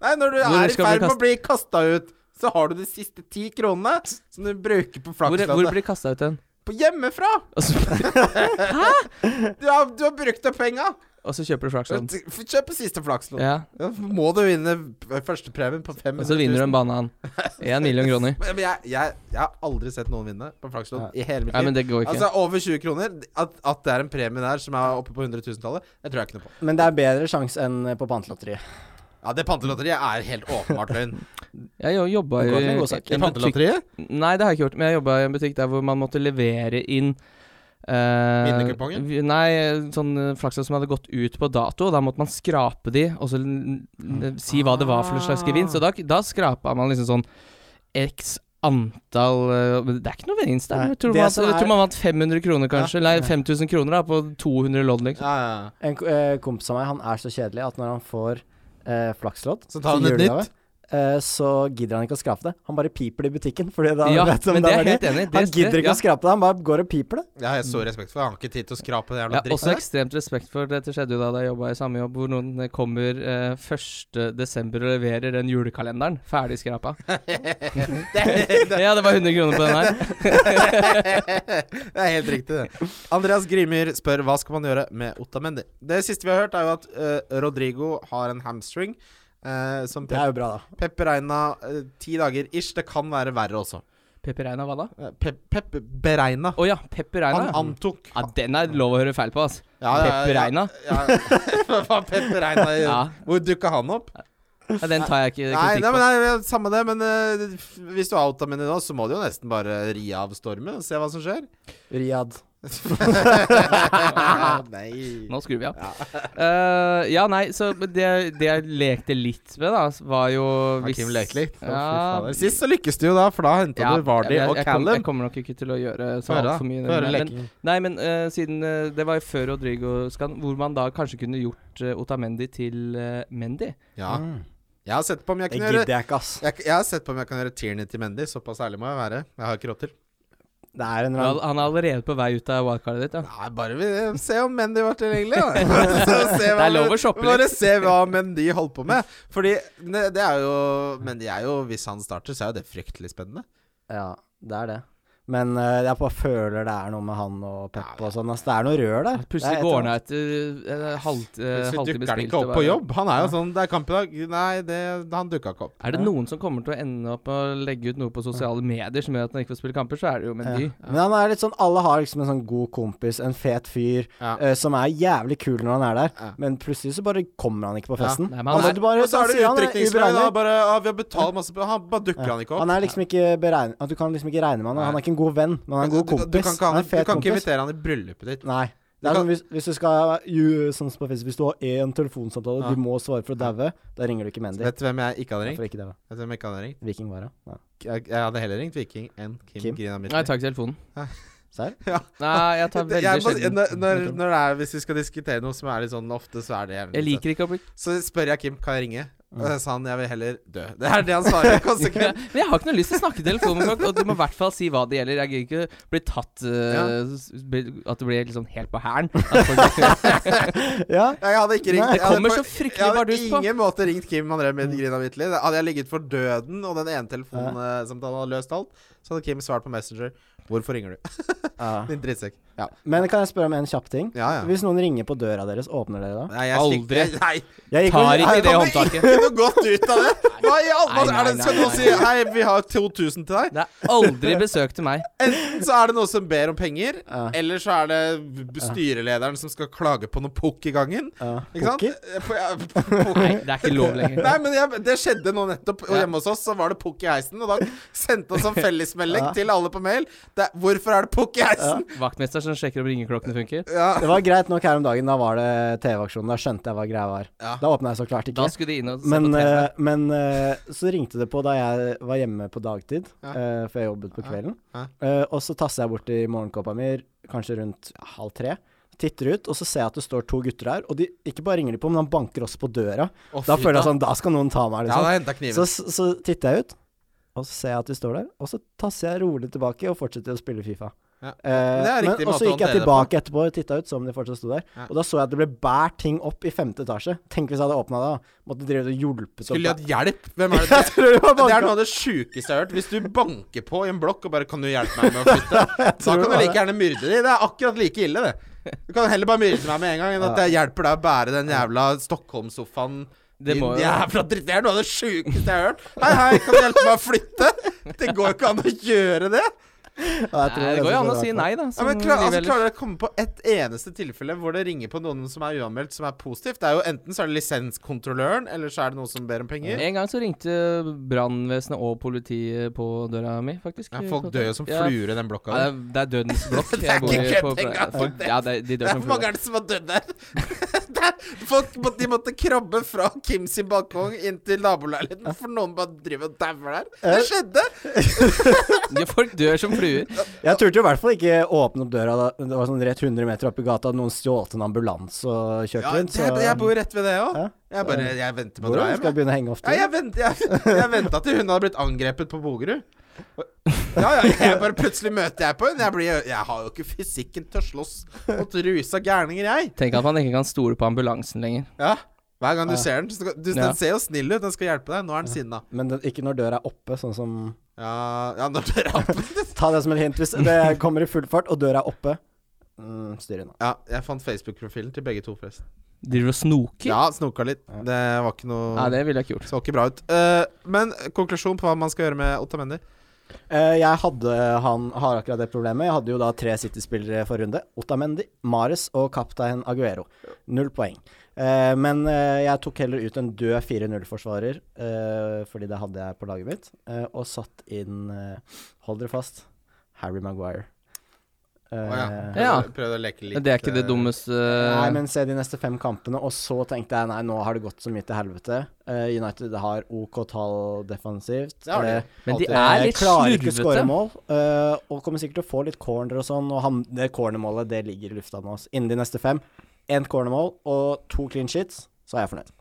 Speaker 3: Nei, når du
Speaker 4: Når du
Speaker 3: er i
Speaker 4: skal bli
Speaker 3: ferd med å bli kasta ut, så har du de siste ti kronene som du bruker på
Speaker 4: Hvor, hvor
Speaker 3: flaksloddet.
Speaker 4: blir kasta ut hen?
Speaker 3: På hjemmefra!
Speaker 4: Altså,
Speaker 3: Du har, du har brukt opp penga!
Speaker 4: og så kjøper du Flaxon.
Speaker 3: Få Kjøpe siste flakslån.
Speaker 4: Ja,
Speaker 3: Ja. Må du vinne førstepremien på 500 000?
Speaker 4: og så vinner du en banan. Én million kroner.
Speaker 3: Men men jeg, jeg, jeg har aldri sett noen vinne på flakslån i hele mitt
Speaker 4: Nei, men
Speaker 3: liv.
Speaker 4: det går ikke.
Speaker 3: Altså Over 20 kroner. At, at det er en premie der som er oppe på 100 000-tallet, det tror jeg ikke noe på.
Speaker 1: Men det er bedre sjanse enn eh, på pantelotteriet.
Speaker 3: Ja, Det pantelotteriet er helt åpenbart løgn.
Speaker 4: Jeg jo- jobba jo
Speaker 1: Det går
Speaker 4: i
Speaker 1: til en god sak.
Speaker 4: en butikk Nei, det har jeg ikke gjort, men jeg jobba i en butikk der hvor man måtte levere inn eh,
Speaker 3: Vinnerkupongen?
Speaker 4: vi- Nei, sånn flakslån som hadde gått ut på dato. Da måtte man skrape de, og så l- l- si hva det var for slags gevinst. Så da, da skrapa man liksom sånn x antall eh, men Det er ikke noe gevinst der.
Speaker 1: Nei,
Speaker 4: Jeg tror,
Speaker 1: det
Speaker 4: man,
Speaker 1: som
Speaker 4: jeg
Speaker 1: er-
Speaker 4: tror man vant 500 kroner, kanskje. Nei, 5000 kroner da, på 200 lodd, liksom.
Speaker 3: Ja, ja.
Speaker 1: En ko- eh, kompis av meg, han er så kjedelig at når han får eh, flakslodd
Speaker 3: Så tar han
Speaker 1: til
Speaker 3: et nytt?
Speaker 1: julegave, eh, så gidder han ikke å skrape det. Han bare piper det i butikken, fordi da
Speaker 4: Ja,
Speaker 1: vet han
Speaker 4: men
Speaker 1: det
Speaker 4: det er jeg
Speaker 1: er
Speaker 4: helt
Speaker 1: verdi.
Speaker 4: enig i.
Speaker 1: Han gidder ikke
Speaker 4: ja.
Speaker 1: å skrape det, han bare går og piper det.
Speaker 3: Jeg har så respekt for det. Jeg har ikke tid til å skrape den
Speaker 4: Ja,
Speaker 3: jævla
Speaker 4: også
Speaker 3: dritten.
Speaker 4: ekstremt respekt for Dette skjedde jo da jeg jobba i samme jobb, hvor noen eh, kommer eh, 1. desember og leverer den julekalenderen. Ferdig skrapa. ja, det var 100 kroner på den her.
Speaker 3: det er helt riktig, det. Andreas Grimyr spør hva skal man gjøre med Ottamendi. Det siste vi har hørt, er jo at eh, Rodrigo har en hamstring. eh, som
Speaker 1: Det
Speaker 3: Pep,
Speaker 1: er jo bra, da.
Speaker 3: Pep regna ti dager ish. Det kan være verre også.
Speaker 4: Pepper Reina, hva da?
Speaker 3: Eh, Pep, Pep beregna.
Speaker 4: Å ja, Pepper Reina.
Speaker 3: Han antok
Speaker 4: ja, den er lov å høre feil på, altså.
Speaker 3: Ja, ja, ja,
Speaker 4: Pep Reina?
Speaker 3: Ja, ja. Hva Pep Reina gjør?
Speaker 4: Ja.
Speaker 3: Hvor dukka han opp?
Speaker 4: ja, den tar jeg ikke
Speaker 3: Nei,
Speaker 4: kritikk
Speaker 3: nei, men
Speaker 4: på.
Speaker 3: nei, samme det, men eh, hvis du har Ottamendi nå, så må du jo nesten bare ri av stormen og se hva som skjer.
Speaker 1: Riyad.
Speaker 3: nei.
Speaker 4: Nå skrur vi av. Eh, ja, nei, så det, det jeg lekte litt med, da, var jo hvis
Speaker 3: Hakim Lekeli. Å, fy
Speaker 4: Ja.
Speaker 3: fader. Sist så lykkes du jo, da, for da henta
Speaker 4: Ja,
Speaker 3: du Vardy
Speaker 4: jeg- jeg
Speaker 3: og
Speaker 4: kom- Jeg
Speaker 3: Callum.
Speaker 4: kommer nok ikke til å gjøre så
Speaker 3: Få høre, da.
Speaker 4: altfor mye.
Speaker 3: Få høre
Speaker 4: Men-
Speaker 3: lekingen.
Speaker 4: Nei, men eh, siden eh, det var jo før Rodrigo-skan, hvor man da kanskje kunne gjort eh, Otamendi til eh, Mendy.
Speaker 3: Ja. Jeg har sett på om jeg
Speaker 1: Mm. Det
Speaker 3: kan gjøre
Speaker 1: gidder jeg ikke, ass.
Speaker 3: jeg, jeg har sett på om jeg kan gjøre Tierney til Mendy. Såpass ærlig må jeg være. Jeg har ikke råd til.
Speaker 1: Det er en
Speaker 4: Han er all-
Speaker 1: eller annen
Speaker 4: han er allerede på vei ut av wildcardet ditt, ja.
Speaker 3: Nei, bare vi, se om Mendy var tilgjengelig, da. Så se
Speaker 4: Det er lov å shoppe litt.
Speaker 3: Bare se hva Mendy holdt på med. Fordi ne, det er jo Mendy er jo Hvis han starter, så er jo det fryktelig spennende.
Speaker 1: Ja, det er det. Men eh, jeg bare føler det er noe med han og Pep og sånn. ass. Det er noe rør der. Det
Speaker 4: Plutselig
Speaker 1: er et
Speaker 4: går
Speaker 1: eller
Speaker 4: han
Speaker 1: annet.
Speaker 4: etter eh, halv- eh,
Speaker 3: Plutselig
Speaker 4: halvtime
Speaker 3: dukker han
Speaker 4: spilt.
Speaker 3: ikke opp på jobb. Han er jo sånn Det er kamp i dag. Nei, det, han dukka ikke opp.
Speaker 4: Er det noen som kommer til å ende opp med å legge ut noe på sosiale medier som gjør at han ikke får spille kamper, så er det jo Mendy.
Speaker 1: Ja. Men han er litt sånn Alle har liksom en sånn god kompis, en fet fyr,
Speaker 3: Ja.
Speaker 1: eh, som er jævlig kul når han er der,
Speaker 3: Ja.
Speaker 1: men plutselig så bare kommer han ikke på
Speaker 3: Ja.
Speaker 1: festen.
Speaker 4: Nei, men han eh,
Speaker 1: måtte bare,
Speaker 3: og så er det
Speaker 1: sier han,
Speaker 3: utrykningslag.
Speaker 1: uberegnelig.
Speaker 3: da, Bare, ja, vi har betalt masse pe- Han bare dukker han ikke opp.
Speaker 1: Han er liksom ikke beregn... at Du kan liksom ikke regne med han. Han er ikke en god venn, men han er en god kompis.
Speaker 3: Du, du kan ikke, ha
Speaker 1: han er
Speaker 3: han,
Speaker 1: en
Speaker 3: du
Speaker 1: fet
Speaker 3: kan ikke
Speaker 1: kompis.
Speaker 3: invitere han i bryllupet ditt.
Speaker 1: Nei.
Speaker 3: Du
Speaker 1: Det er
Speaker 3: kan-
Speaker 1: sånn, hvis, hvis du skal jo, sånn som på Facebook, Hvis du har én telefonsamtale, du må svare for å daue, da ringer du ikke Mendy.
Speaker 3: Vet du hvem jeg ikke hadde ringt?
Speaker 1: Hvorfor ikke daue?
Speaker 3: Vet du hvem jeg ikke hadde ringt?
Speaker 1: Viking var det. Nei.
Speaker 3: Jeg, jeg hadde heller ringt Viking enn Kim,
Speaker 1: Kim?
Speaker 3: Grina Mittli.
Speaker 4: Nei, tar ikke telefonen.
Speaker 1: Serr?
Speaker 4: Nei, jeg tar
Speaker 3: Det- jeg
Speaker 4: veldig
Speaker 3: må-
Speaker 4: sjelden.
Speaker 3: når, når, når det er, hvis vi skal diskutere noe som er litt sånn ofte, så er det jævlig
Speaker 4: Jeg liker ikke å bli
Speaker 3: Så spør jeg Kim kan jeg ringe. Og så sa han jeg vil heller dø. Det er det han svarer konsekvent.
Speaker 4: Men jeg har ikke noe lyst til å snakke i telefonen, engang, og du må i hvert fall si hva det gjelder. Jeg gidder ikke bli tatt eh,
Speaker 3: Ja.
Speaker 4: s- bli- At du blir liksom helt på hælen. At folk-
Speaker 1: Ja.
Speaker 3: Jeg hadde ikke ringt
Speaker 1: Nei.
Speaker 4: Det
Speaker 3: jeg hadde
Speaker 4: kommer
Speaker 3: på-
Speaker 4: så fryktelig
Speaker 3: Jeg hadde
Speaker 4: bardus på.
Speaker 3: ingen måte ringt Kim André
Speaker 1: Mm.
Speaker 3: med Grina Mittli. Da Hadde jeg ligget for døden, og den ene telefonsamtalen hadde løst alt, så hadde Kim svart på Messenger. Hvorfor ringer du?
Speaker 1: Ja.
Speaker 3: Din drittsekk. Ja.
Speaker 1: Men kan jeg spørre om en kjapp ting?
Speaker 3: Ja, ja.
Speaker 1: Hvis noen ringer på døra deres, åpner dere da?
Speaker 3: Nei, jeg slik-
Speaker 4: Aldri.
Speaker 3: Nei,
Speaker 1: Jeg gikk
Speaker 4: Tar
Speaker 1: og-
Speaker 4: ikke det
Speaker 3: Kommer
Speaker 4: håndtaket.
Speaker 3: Ikke noe godt ut av det. Hva i alle
Speaker 4: Nei,
Speaker 3: dager er det
Speaker 4: nei,
Speaker 3: skal
Speaker 4: nei,
Speaker 3: noen
Speaker 4: nei.
Speaker 3: si? Hei, vi har 2000 til deg.
Speaker 4: Det er aldri besøk til meg.
Speaker 3: Enten så er det noen som ber om penger,
Speaker 1: Ja.
Speaker 3: eller så er det b- styrelederen som skal klage på noe pukk i gangen.
Speaker 1: Ja.
Speaker 3: Ikke sant?
Speaker 1: Pokker?
Speaker 3: Eh, på- ja, pukk.
Speaker 4: Nei, det er ikke lov lenger.
Speaker 3: Nei, men jeg, Det skjedde nå nettopp. Og
Speaker 4: Ja.
Speaker 3: hjemme hos oss så var det pukk i heisen. Og da sendte han sånn fellesmelding
Speaker 1: Ja.
Speaker 3: til alle på mail. Det, er- hvorfor er det pukk i heisen?
Speaker 4: Vaktmester som sjekker om ringeklokkene funker.
Speaker 3: Ja.
Speaker 1: Det var greit nok her om dagen. Da var det TV-aksjonen. Da skjønte jeg hva greia var.
Speaker 3: Ja.
Speaker 1: Da åpna jeg så klart ikke.
Speaker 4: Da skulle de inn og se
Speaker 1: Men,
Speaker 4: på TV.
Speaker 1: eh, men eh, så ringte det på da jeg var hjemme på dagtid,
Speaker 3: Ja.
Speaker 1: eh, for jeg jobbet på kvelden.
Speaker 3: Ja.
Speaker 1: Eh, og så tasser jeg bort i morgenkåpa mi kanskje rundt halv tre. Titter ut, og så ser jeg at det står to gutter der. Og de, ikke bare ringer de på, men han banker også på døra.
Speaker 3: Å,
Speaker 1: da
Speaker 3: fy
Speaker 1: føler jeg
Speaker 3: faen.
Speaker 1: sånn, da skal noen ta meg,
Speaker 3: Ja, da
Speaker 1: liksom.
Speaker 3: henta kniven.
Speaker 1: så, så titter jeg ut, og så ser jeg at de står der. Og så tasser jeg rolig tilbake og fortsetter å spille Fifa.
Speaker 3: Ja.
Speaker 1: Eh,
Speaker 3: Det er riktig
Speaker 1: men, og
Speaker 3: måte
Speaker 1: så
Speaker 3: å
Speaker 1: gikk
Speaker 3: håndtere
Speaker 1: jeg
Speaker 3: det på.
Speaker 1: tilbake etterpå og titta ut, som de fortsatt sto der.
Speaker 3: Ja.
Speaker 1: Og da så jeg at det ble bært ting opp i femte etasje. Tenk hvis jeg hadde åpna det, da. Måtte drive og hjulpet opp.
Speaker 3: Skulle de hatt hjelp? Hvem er det?
Speaker 1: Jeg tror det var
Speaker 3: Det er
Speaker 1: banka.
Speaker 3: noe av det sjukeste jeg har hørt. Hvis du banker på i en blokk og bare 'Kan du hjelpe meg med å flytte?' Da
Speaker 1: tror
Speaker 3: kan du
Speaker 1: det var
Speaker 3: like
Speaker 1: det.
Speaker 3: gjerne myrde de. Det er akkurat like ille, det. Du kan heller bare myrde meg med en gang enn at jeg hjelper deg å bære den jævla Stockholm-sofaen.
Speaker 4: Det må
Speaker 3: din
Speaker 4: jo
Speaker 3: jævla dritt. Det er noe av det sjukeste jeg har hørt. Hei, hei, kan du hjelpe meg å flytte? Det går jo ikke an å gjøre det.
Speaker 1: Ja, jeg tror
Speaker 4: Nei, Det
Speaker 1: jeg
Speaker 4: går jo
Speaker 1: synes
Speaker 4: an å
Speaker 1: var
Speaker 4: si
Speaker 1: verdt det.
Speaker 4: nei, da.
Speaker 3: Ja,
Speaker 4: som
Speaker 3: men klar, altså,
Speaker 4: livet ellers.
Speaker 3: klarer dere å komme på ett eneste tilfelle hvor det ringer på noen som er uanmeldt, som er positivt? Det er jo Enten så er det lisenskontrolløren, eller så er det noen som ber om penger.
Speaker 4: En gang så ringte brannvesenet og politiet på døra mi, faktisk.
Speaker 3: Ja, folk dør jo som
Speaker 4: Ja.
Speaker 3: fluer i den blokka.
Speaker 4: Ja, det,
Speaker 3: der.
Speaker 4: er, det er dødens blokk.
Speaker 3: Det er
Speaker 4: Jeg bor
Speaker 3: ikke
Speaker 4: i-
Speaker 3: kødd
Speaker 4: på-
Speaker 3: engang.
Speaker 4: folk- Ja, det, er- de dør
Speaker 3: Det er
Speaker 4: som
Speaker 3: for mange
Speaker 4: fluer.
Speaker 3: er det som har dødd der. Det er- Folk må, de måtte krabbe fra Kims sin balkong inn til nabolailigheten, for noen bare driver og dauer der. Det skjedde!
Speaker 4: Ja, folk dør som fluer.
Speaker 1: Jeg turte jo i hvert fall ikke åpne opp døra da det var sånn rett 100 meter opp i gata hadde noen stjålet en ambulanse og kjørt
Speaker 3: Ja,
Speaker 1: rundt.
Speaker 3: det, er- jeg bor jo rett ved det òg.
Speaker 1: Ja.
Speaker 3: Jeg bare jeg venter på å dra
Speaker 1: Hvordan
Speaker 3: hjem.
Speaker 1: skal jeg
Speaker 3: jeg.
Speaker 1: begynne å henge opp
Speaker 3: Ja, jeg vent- jeg- jeg venta til hun hadde blitt angrepet på Bogerud. Ja, ja, jeg bare plutselig møter jeg på henne. Jeg, blir, jeg har jo ikke fysikken til å slåss mot rusa gærninger, jeg.
Speaker 4: Tenk at man ikke kan stole på ambulansen lenger.
Speaker 3: Ja, Hver gang du ser den. Så, du,
Speaker 4: Ja.
Speaker 3: den ser jo snill ut, den skal hjelpe deg. Nå er den sinna.
Speaker 1: Men det, ikke når døra er oppe, sånn som
Speaker 3: Ja, ja, når dere er oppe
Speaker 1: Ta det som et hint hvis det kommer i full fart, og døra er oppe. Mm, Styr unna.
Speaker 3: Ja, jeg fant Facebook-profilen til begge to, forresten.
Speaker 4: Driver og snoker?
Speaker 3: Ja, snoka litt. Det var ikke noe
Speaker 4: Nei, det ville jeg ikke gjort.
Speaker 3: Så ikke bra ut. Eh, men konklusjon på hva man skal gjøre med Ottamendi?
Speaker 1: Eh, jeg hadde han har akkurat det problemet. Jeg hadde jo da tre City-spillere for runde. Otamendi, Mares og kaptein Aguero. Null poeng. Eh, men eh, jeg tok heller ut en død 4-0-forsvarer, eh, fordi det hadde jeg på laget mitt, eh, og satt inn eh, Hold dere fast Harry Maguire. Eh,
Speaker 4: Ja.
Speaker 3: Prøvde å leke litt eh,
Speaker 4: Men det er ikke det dummeste
Speaker 1: Nei,
Speaker 4: Eh,
Speaker 1: men se de neste fem kampene, og så tenkte jeg nei, nå har det gått så mye til helvete. Eh, United har OK tall defensivt.
Speaker 3: Det har de.
Speaker 1: Eh,
Speaker 4: Men de
Speaker 3: alltid.
Speaker 4: er
Speaker 1: eh,
Speaker 4: litt
Speaker 1: klarer ikke å skåre
Speaker 4: slurvete.
Speaker 1: mål, eh, og kommer sikkert til å få litt corner og sånn. Og han, det cornermålet det ligger i lufta med oss innen de neste fem. Ett cornermål og to clean sheets, så er jeg fornøyd.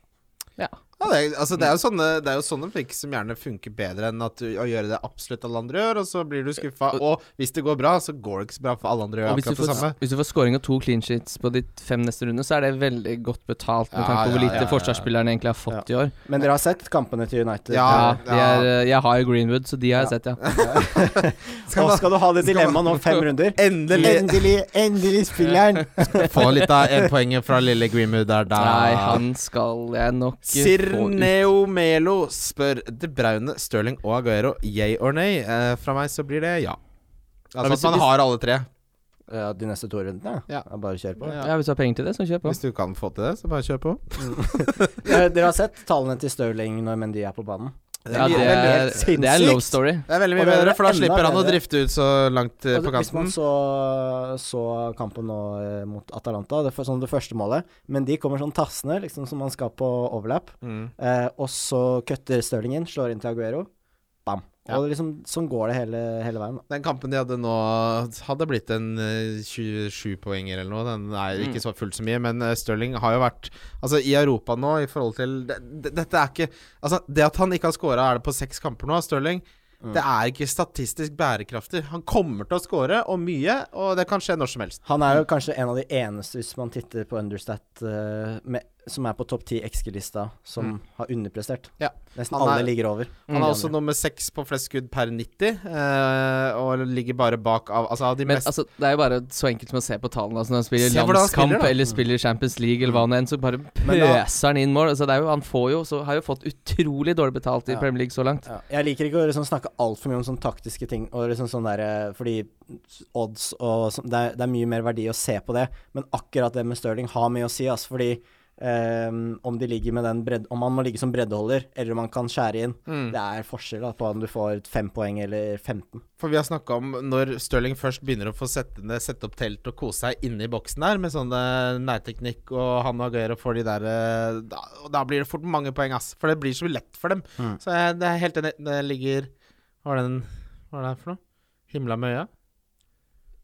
Speaker 4: Ja.
Speaker 3: Ja, det, er, altså, det, er jo sånne, det er jo sånne flikker som gjerne funker bedre enn at du, å gjøre det absolutt alle andre gjør, og så blir du skuffa. Og hvis det går bra, så går det ikke så bra, for alle andre gjør
Speaker 4: Og hvis du,
Speaker 3: akkurat det samme.
Speaker 4: får, hvis du får scoring og to clean sheets på de fem neste runde, så er det veldig godt betalt, med
Speaker 3: Ja,
Speaker 4: tanke på hvor
Speaker 3: ja,
Speaker 4: lite
Speaker 3: ja, ja.
Speaker 4: forsvarsspillerne egentlig har fått i år.
Speaker 1: Men dere har sett kampene til United?
Speaker 4: Ja,
Speaker 3: Ja,
Speaker 4: de er, eh, Jeg har jo Greenwood, så de har jeg
Speaker 1: Ja.
Speaker 4: sett, ja.
Speaker 1: Skal, Eh, og skal du ha det dilemmaet nå, fem runder?
Speaker 3: Endelig!
Speaker 1: Endelig, endelig spilleren!
Speaker 3: Få litt av en poenget fra lille Greenwood der, da.
Speaker 4: Nei, han skal jeg nok eh, få ut.
Speaker 3: Sirneo Melo spør De Braune, Stirling og Aguero, yay or nay? Eh, fra meg så blir det ja. Altså
Speaker 4: hvis
Speaker 3: at man
Speaker 4: du-
Speaker 3: har alle tre.
Speaker 1: Ja, de neste to rundene?
Speaker 3: Ja.
Speaker 1: Ja. Bare kjør på.
Speaker 4: Ja, Hvis du har penger til det, så kjør på.
Speaker 3: Hvis du kan få til det, så bare kjør på.
Speaker 1: Eh, Dere har sett tallene til Stirling når Mendy er på banen?
Speaker 4: Ja, det
Speaker 1: er
Speaker 4: er,
Speaker 1: helt
Speaker 4: det er en love
Speaker 1: sinnssykt.
Speaker 4: story.
Speaker 3: Det er veldig
Speaker 1: Og
Speaker 3: mye
Speaker 1: det er
Speaker 3: bedre, for da
Speaker 1: enda
Speaker 3: slipper han å
Speaker 1: bedre.
Speaker 3: drifte ut så langt eh,
Speaker 1: Og
Speaker 3: på
Speaker 1: det- Altså, Hvis man
Speaker 3: kanten.
Speaker 1: så, så kampen nå eh, mot Atalanta, det, for, sånn det første målet Men de kommer sånn tassende, liksom som man skal på overlap.
Speaker 3: Mm.
Speaker 1: Eh, og så kutter Stirling inn, slår inn til Aguero. Bam.
Speaker 3: Ja.
Speaker 1: Og det liksom, sånn går det hele, hele veien. da.
Speaker 3: Den kampen de hadde nå, hadde blitt en eh, 27 poenger eller noe. Den er ikke så fullt så mye, men eh, Stirling har jo vært Altså, i Europa nå, i forhold til det, det, Dette er ikke Altså, det at han ikke har scora, er det på seks kamper nå, Stirling Det er ikke statistisk bærekraftig. Han kommer til å score, og mye, og det kan skje når som helst.
Speaker 1: Han er jo kanskje en av de eneste, hvis man titter på Understat, eh, med, som er på topp ti XG-lista, som har underprestert.
Speaker 3: Mm. Ja.
Speaker 1: Nesten
Speaker 3: Han er-
Speaker 1: alle ligger over. Mm.
Speaker 3: Han er også nummer seks på flest skudd per 90, eh, og ligger bare bak av Altså, av de
Speaker 4: Men
Speaker 3: mest
Speaker 4: altså, det er jo bare så enkelt som å se på tallene. Altså, når han spiller
Speaker 3: Se hvordan han Mm.
Speaker 4: landskamp
Speaker 3: spiller, da.
Speaker 4: eller spiller Champions League eller hva nå enn, så bare
Speaker 1: Men da-
Speaker 4: pøser han inn mål. Altså, det er jo, han får jo, så har jo fått utrolig dårlig betalt i
Speaker 1: Ja.
Speaker 4: Premier League så langt.
Speaker 1: Ja. Jeg liker ikke å liksom snakke altfor mye om sånne taktiske ting, og liksom sånn der, eh, fordi odds og sånn det, er- det er mye mer verdi å se på det, men akkurat det med Stirling har mye å si, ass, fordi ehm, om, de ligger med den bredd, om han må ligge som breddeholder, eller om han kan skjære inn, det er forskjell da, på om du får fem poeng eller 15.
Speaker 3: For vi har snakka om når Stirling først begynner å få sette, ned, sette opp telt og kose seg inne i boksen der med sånne nærteknikk og han og Aguero får de der eh, da, og da blir det fort mange poeng, ass. For det blir så lett for dem.
Speaker 4: Mm.
Speaker 3: Så jeg det er helt enig. Det ligger Hva er den Hva er det her for noe? Himla med øya?
Speaker 4: Hm.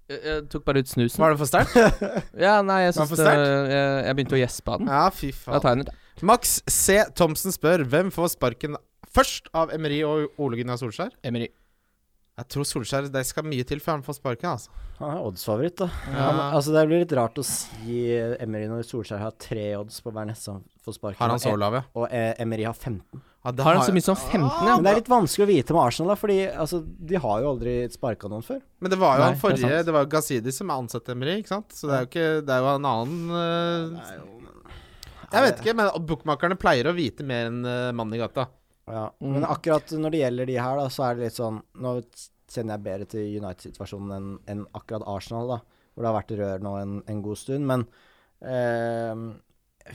Speaker 4: Jeg, jeg tok bare ut snusen.
Speaker 3: Var det for sterkt?
Speaker 4: Ja, nei,
Speaker 3: Var
Speaker 4: jeg,
Speaker 3: det
Speaker 4: syns
Speaker 3: for
Speaker 4: det,
Speaker 3: sterkt?
Speaker 4: jeg, jeg begynte å gjespe av den.
Speaker 3: Ja, fy
Speaker 4: Da
Speaker 3: faen.
Speaker 4: tar jeg den ut.
Speaker 3: Max C. Thomsen spør hvem får sparken først av Emery og Ole Gunnar Solskjær?
Speaker 4: Emery.
Speaker 3: Jeg tror Solskjær Det skal mye til før han får sparken, altså.
Speaker 1: Han er oddsfavoritt, da. Han, altså, det blir litt rart å si eh, Emery når Solskjær har tre odds på hver neste han får sparken.
Speaker 3: Har han
Speaker 1: og
Speaker 3: så
Speaker 1: E-
Speaker 3: lav, ja?
Speaker 1: Og eh, Emery har 15.
Speaker 3: Ja, det
Speaker 4: Har han
Speaker 3: har- Ah!
Speaker 4: så mye som 15, ja?
Speaker 1: Men det er litt vanskelig å vite med Arsenal, da, fordi altså, de har jo aldri sparka noen før.
Speaker 3: Men det var jo
Speaker 4: Nei,
Speaker 3: han
Speaker 4: det er
Speaker 3: forrige, det,
Speaker 4: sant.
Speaker 3: var jo Gazidi som er ansatt i Emery, ikke sant? Så det er jo ikke Det er jo en annen eh, Jeg vet ikke, men bookmakerne pleier å vite mer enn eh, mannen i gata.
Speaker 1: Ja,
Speaker 4: Mm.
Speaker 1: Men akkurat når det gjelder de her, da, så er det litt sånn Nå kjenner jeg bedre til United-situasjonen enn enn akkurat Arsenal, da, hvor det har vært rør nå en, en god stund. Men eh,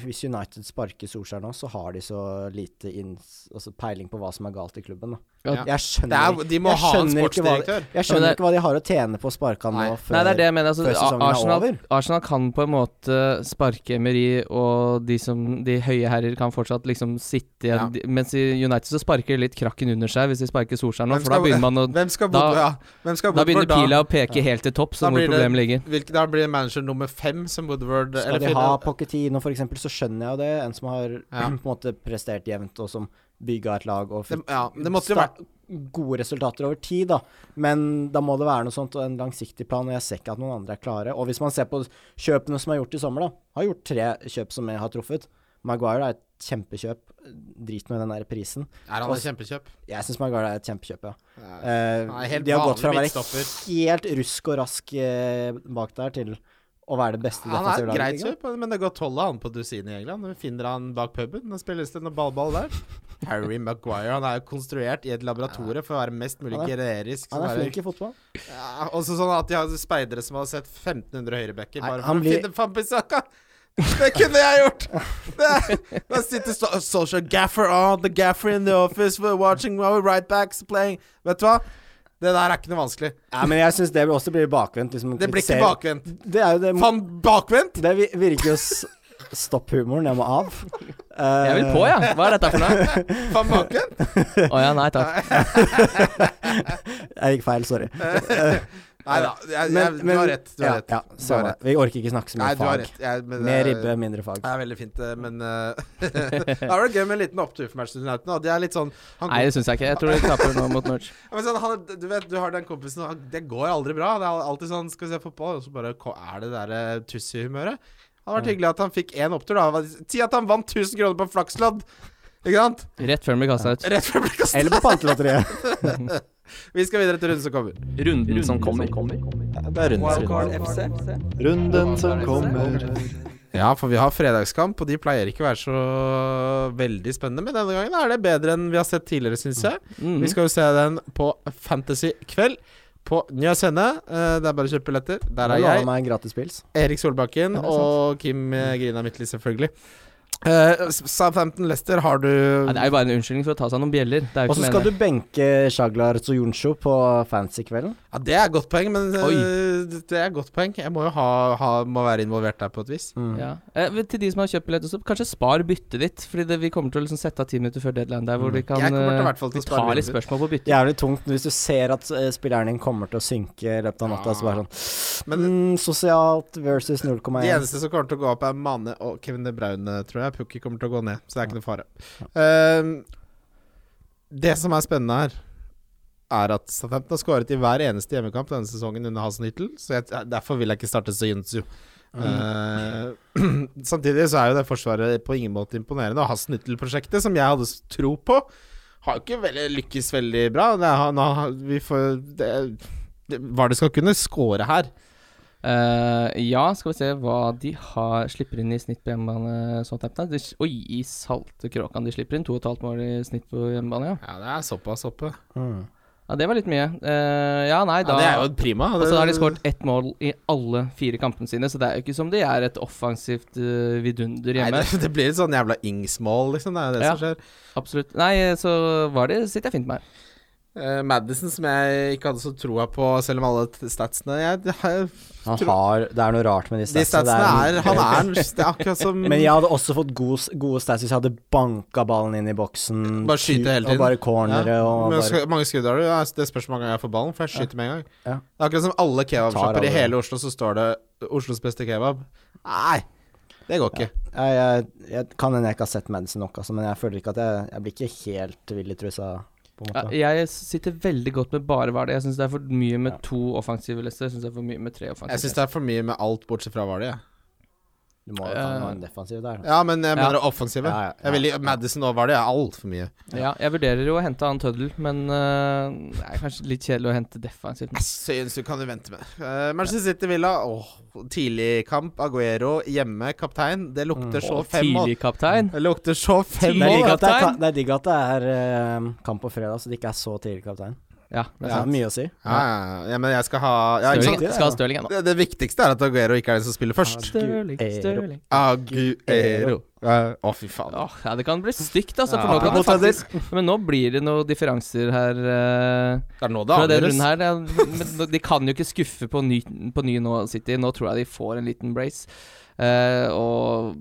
Speaker 1: hvis United sparker Solskjær nå, så har de så lite inns, altså peiling på hva som er galt i klubben. Da.
Speaker 4: Ja.
Speaker 1: Jeg
Speaker 3: Det
Speaker 1: skjønner,
Speaker 3: er, de må
Speaker 1: jeg
Speaker 3: ha en
Speaker 1: skjønner ikke hva de-
Speaker 3: sportsdirektør.
Speaker 1: jeg skjønner
Speaker 4: det-
Speaker 1: ikke hva de har å tjene på å sparke han
Speaker 3: Nei.
Speaker 1: nå før
Speaker 4: Nei, det er det jeg mener.
Speaker 1: før
Speaker 4: Altså,
Speaker 1: sesongen er
Speaker 4: A- Arsenal,
Speaker 1: over.
Speaker 4: Arsenal kan på en måte sparke Emery, og de, som, de høye herrer kan fortsatt liksom sitte igjen.
Speaker 3: Ja.
Speaker 4: De- Mens i United så sparker de litt krakken under seg hvis de sparker Solskjær nå,
Speaker 3: Hvem
Speaker 4: for da
Speaker 3: skal-
Speaker 4: begynner man å
Speaker 3: Hvem skal bo
Speaker 4: Da-
Speaker 3: ja. Hvem skal
Speaker 4: Da begynner
Speaker 3: Woodward da?
Speaker 4: pila å peke helt til topps
Speaker 3: Da
Speaker 4: om hvor
Speaker 3: blir det-
Speaker 4: problemet ligger.
Speaker 3: Hvilke, da blir det manager nummer fem som Woodward
Speaker 1: Skal
Speaker 3: eller
Speaker 1: de
Speaker 3: fire-
Speaker 1: ha Pochettino for eksempel, så skjønner jeg jo det. En som har på en måte prestert jevnt, og som bygga et lag og
Speaker 3: det,
Speaker 1: fikk
Speaker 3: ja, det måtte jo
Speaker 1: sta-
Speaker 3: vært
Speaker 1: gode resultater over tid, da. Men da må det være noe sånt, og en langsiktig plan, og jeg ser ikke at noen andre er klare. Og hvis man ser på kjøpene som er gjort i sommer, da. Har gjort tre kjøp som jeg har truffet. Maguire er et kjempekjøp. Drit nå i den der prisen.
Speaker 3: Er han et kjempekjøp?
Speaker 1: Jeg syns Maguire er et kjempekjøp, ja.
Speaker 3: Ja.
Speaker 1: Eh,
Speaker 3: Nei, helt
Speaker 1: de har gått fra å
Speaker 3: vanlig
Speaker 1: være
Speaker 3: midtstopper.
Speaker 1: helt rusk og rask eh, bak der til å være det beste
Speaker 3: Han er et
Speaker 1: defensive laget. i
Speaker 3: greit
Speaker 1: ligaen.
Speaker 3: kjøp, men det går tolv av han på dusin i England. Vi finner han bak puben, og spilles det noe ballball der. Harry Maguire han er jo konstruert i et laboratorium for å være mest mulig
Speaker 1: Han er-
Speaker 3: generisk.
Speaker 1: Han er
Speaker 3: sånn
Speaker 1: flink i fotball.
Speaker 3: der- ja, også sånn at de har speidere som har sett 1500 høyrebacker
Speaker 1: Nei,
Speaker 3: bare for
Speaker 1: han
Speaker 3: å
Speaker 1: blir-
Speaker 3: finne Fampisaka. Det kunne jeg gjort! Det, da sitter so social gaffer on the gaffer in the office we're watching our right backs playing. Vet du hva? Det der er ikke noe vanskelig.
Speaker 1: Ja, men jeg syns det også blir bakvendt. Liksom, å
Speaker 3: Det blir ikke
Speaker 1: kritisere-
Speaker 3: bakvendt.
Speaker 1: Det er jo det
Speaker 3: Faen, bakvendt!
Speaker 1: Det vi- virker jo s- Stopp humoren, jeg må av. Eh,
Speaker 4: Jeg vil på, ja! Hva er dette for noe?
Speaker 3: Faen, bakvendt!
Speaker 4: Å ja, nei takk.
Speaker 1: Eh, Jeg gikk feil, sorry.
Speaker 3: Nei da, jeg, jeg, du har rett. Du har
Speaker 1: ja,
Speaker 3: rett.
Speaker 1: Ja,
Speaker 3: du har
Speaker 1: samme.
Speaker 3: rett.
Speaker 1: Vi orker ikke snakke så mye
Speaker 3: Nei, du har
Speaker 1: fag.
Speaker 3: rett. Jeg, men,
Speaker 1: Mer
Speaker 3: det-
Speaker 1: ribbe, mindre fag.
Speaker 3: Det er veldig fint, det, men eh, Da var det gøy med en liten opptur for Manchester United. nå. Det er litt sånn, han,
Speaker 4: Nei, det syns jeg ikke. Jeg tror de taper nå mot Norge.
Speaker 3: Ja, men sånn han, Du vet, du har den kompisen han, Det går aldri bra. Det er alltid sånn Skal vi se fotball, og så bare ko- er det der eh, Tussi-humøret. Det hadde vært hyggelig at han fikk én opptur. da Hva- Si at han vant 1000 kroner på flakslodd! Ikke sant?
Speaker 4: Rett før de blir kasta ut.
Speaker 3: Rett før det ble kastet.
Speaker 1: Eller på pantelotteriet.
Speaker 3: Vi skal videre til runden som kommer.
Speaker 4: Runden som kommer.
Speaker 5: Runden som kommer.
Speaker 3: Ja, for vi har fredagskamp, og de pleier ikke å være så veldig spennende. Men denne gangen er det bedre enn vi har sett tidligere, syns jeg.
Speaker 4: Mm.
Speaker 3: Vi skal jo se den på Fantasy kveld på Nya Scene. Eh, Det er bare å kjøpe billetter. Der
Speaker 1: Han
Speaker 3: er
Speaker 1: lova
Speaker 3: jeg,
Speaker 1: meg en gratis pils.
Speaker 3: Erik Solbakken
Speaker 1: Ja, det er
Speaker 3: og Kim eh, Grina Midtly, selvfølgelig. Eh, Southampton Lester, har du
Speaker 4: Nei, det er jo bare en unnskyldning for å ta seg noen bjeller. Det er jo
Speaker 1: Og så
Speaker 4: ikke
Speaker 1: skal du
Speaker 4: meningen. benke
Speaker 1: benke Shaglar Soyuncho på fancy-kvelden.
Speaker 3: Ja, det er et godt poeng, men eh,
Speaker 4: Oi.
Speaker 3: det er et godt poeng. Jeg må jo ha, ha må være involvert der på et vis.
Speaker 4: Ja. Eh, men til de som har kjøpt billett også, kanskje spar byttet ditt. Fordi det, vi kommer til å liksom sette av ti minutter før deadline der hvor vi kan
Speaker 3: Jeg kommer til i
Speaker 4: eh,
Speaker 3: hvert fall til å
Speaker 4: Vi
Speaker 3: spare
Speaker 4: tar litt
Speaker 3: byttet.
Speaker 4: spørsmål på byttet.
Speaker 1: Jævlig tungt hvis du ser at eh, spilleren din kommer til å synke i løpet av
Speaker 3: Ah.
Speaker 1: natta. Så bare sånn mm, Sosialt versus
Speaker 3: De
Speaker 1: 0,1.
Speaker 3: eneste som kommer til å gå opp, er Mane og Kevin De Bruyne, tror jeg. Pukki kommer til å gå ned, så det er ikke noe fare. Ehm, det som er spennende her, er at Southampton har skåret i hver eneste hjemmekamp denne sesongen under Hasenhyttel, så jeg, derfor vil jeg ikke starte Soyuncu. Ehm, samtidig så er jo det forsvaret på ingen måte imponerende. Og Hasenhyttel-prosjektet, som jeg hadde s- tro på, har jo ikke veldig, lykkes veldig bra. Det er, han har- vi får det, det, Hva det skal kunne score her.
Speaker 4: Eh, ja, skal vi se hva de har slipper inn i snitt på hjemmebane. Southampton. De, oi, i salte kråkan. De slipper inn 2,5 mål i snitt på hjemmebane, ja.
Speaker 3: Ja, det er såpass oppe.
Speaker 1: Mm.
Speaker 4: Ja, Det var litt mye. Eh, ja, nei,
Speaker 3: ja,
Speaker 4: da
Speaker 3: det er jo prima.
Speaker 4: Og så har de skåret ett mål i alle fire kampene sine, så det er jo ikke som de er et offensivt eh, vidunder
Speaker 3: Nei,
Speaker 4: hjemme.
Speaker 3: det, det blir et sånn jævla Ings-mål, liksom. Det er jo det
Speaker 4: Ja.
Speaker 3: som skjer.
Speaker 4: Absolutt. Nei, så var det sitter jeg fint med her.
Speaker 3: Eh, Madison, som jeg ikke hadde så troa på, selv om alle t- statsene jeg, det har-
Speaker 1: Han har Det er noe rart med de
Speaker 3: De
Speaker 1: statsene. Det
Speaker 3: statsene er Han er en- Det er akkurat som
Speaker 1: Men jeg hadde også fått gode, gode stats hvis jeg hadde banka ballen inn i boksen.
Speaker 3: Bare skyte hele tiden.
Speaker 1: Og bare cornere
Speaker 3: Ja.
Speaker 1: og
Speaker 3: Men
Speaker 1: bare
Speaker 3: sk- mange skudd har du? Ja, altså, det spørs hvor mange ganger jeg får ballen, for jeg skyter med en gang.
Speaker 1: Ja.
Speaker 3: Det er akkurat som alle kebabsjapper
Speaker 1: Tar
Speaker 3: i
Speaker 1: alle.
Speaker 3: hele Oslo, så står det 'Oslos beste kebab'. Nei, det går ikke.
Speaker 1: jeg, jeg, jeg kan hende jeg ikke har sett Madison nok, altså, men jeg føler ikke at jeg, jeg blir ikke helt vill i trusa, på en måte.
Speaker 4: Ja, jeg sitter veldig godt med bare Vardø. Jeg syns det er for mye med to offensive lister. Jeg syns det er for mye med tre
Speaker 3: Jeg syns
Speaker 4: offensive.
Speaker 3: det er for mye med alt bortsett fra Vardø, jeg.
Speaker 1: Du må jo ta
Speaker 4: Eh,
Speaker 1: en defensiv der. da.
Speaker 3: Ja, men jeg
Speaker 4: Ja.
Speaker 3: mener offensive.
Speaker 1: Ja, ja, ja.
Speaker 3: Jeg vil, Madison nå var det altfor mye.
Speaker 4: Ja, jeg vurderer jo å hente han Tøddel, men eh, det er kanskje litt kjedelig å hente defensivt.
Speaker 3: Jeg synes du kan jo vente med. Eh, Manchester City Villa, åh, tidlig kamp. Aguero hjemme, kaptein. Det lukter så
Speaker 4: Og
Speaker 3: fem mål.
Speaker 4: Mm. Tidlig kaptein.
Speaker 3: Det lukter så fem
Speaker 1: Det er digg
Speaker 3: mål.
Speaker 1: at det er,
Speaker 4: kaptein.
Speaker 1: det er, digg at det er eh, kamp på fredag, så det ikke er så tidlig kaptein.
Speaker 4: Ja, det
Speaker 1: Det
Speaker 4: er
Speaker 1: er
Speaker 4: sant.
Speaker 1: mye å si.
Speaker 3: Ja, ja, ja, men jeg skal ha ja, ikke
Speaker 4: Stirling,
Speaker 3: sant?
Speaker 1: det er
Speaker 4: skal ha
Speaker 1: det.
Speaker 4: Stirling ennå.
Speaker 3: Det, det viktigste er at Aguero ikke er den som spiller først.
Speaker 1: Stirling, Stirling.
Speaker 3: Aguero. Eh, Å, fy faen.
Speaker 4: Åh, ja, det kan bli stygt, altså. For
Speaker 3: Ja.
Speaker 4: nå kan det
Speaker 3: Apropos Tøddel.
Speaker 4: faktisk Men nå blir det noen differanser her. eh,
Speaker 3: Det er nå det
Speaker 4: fra den runden
Speaker 3: avgjøres.
Speaker 4: her det er- men De kan jo ikke skuffe på ny, på ny nå, City. Nå tror jeg de får en liten brace. Eh, og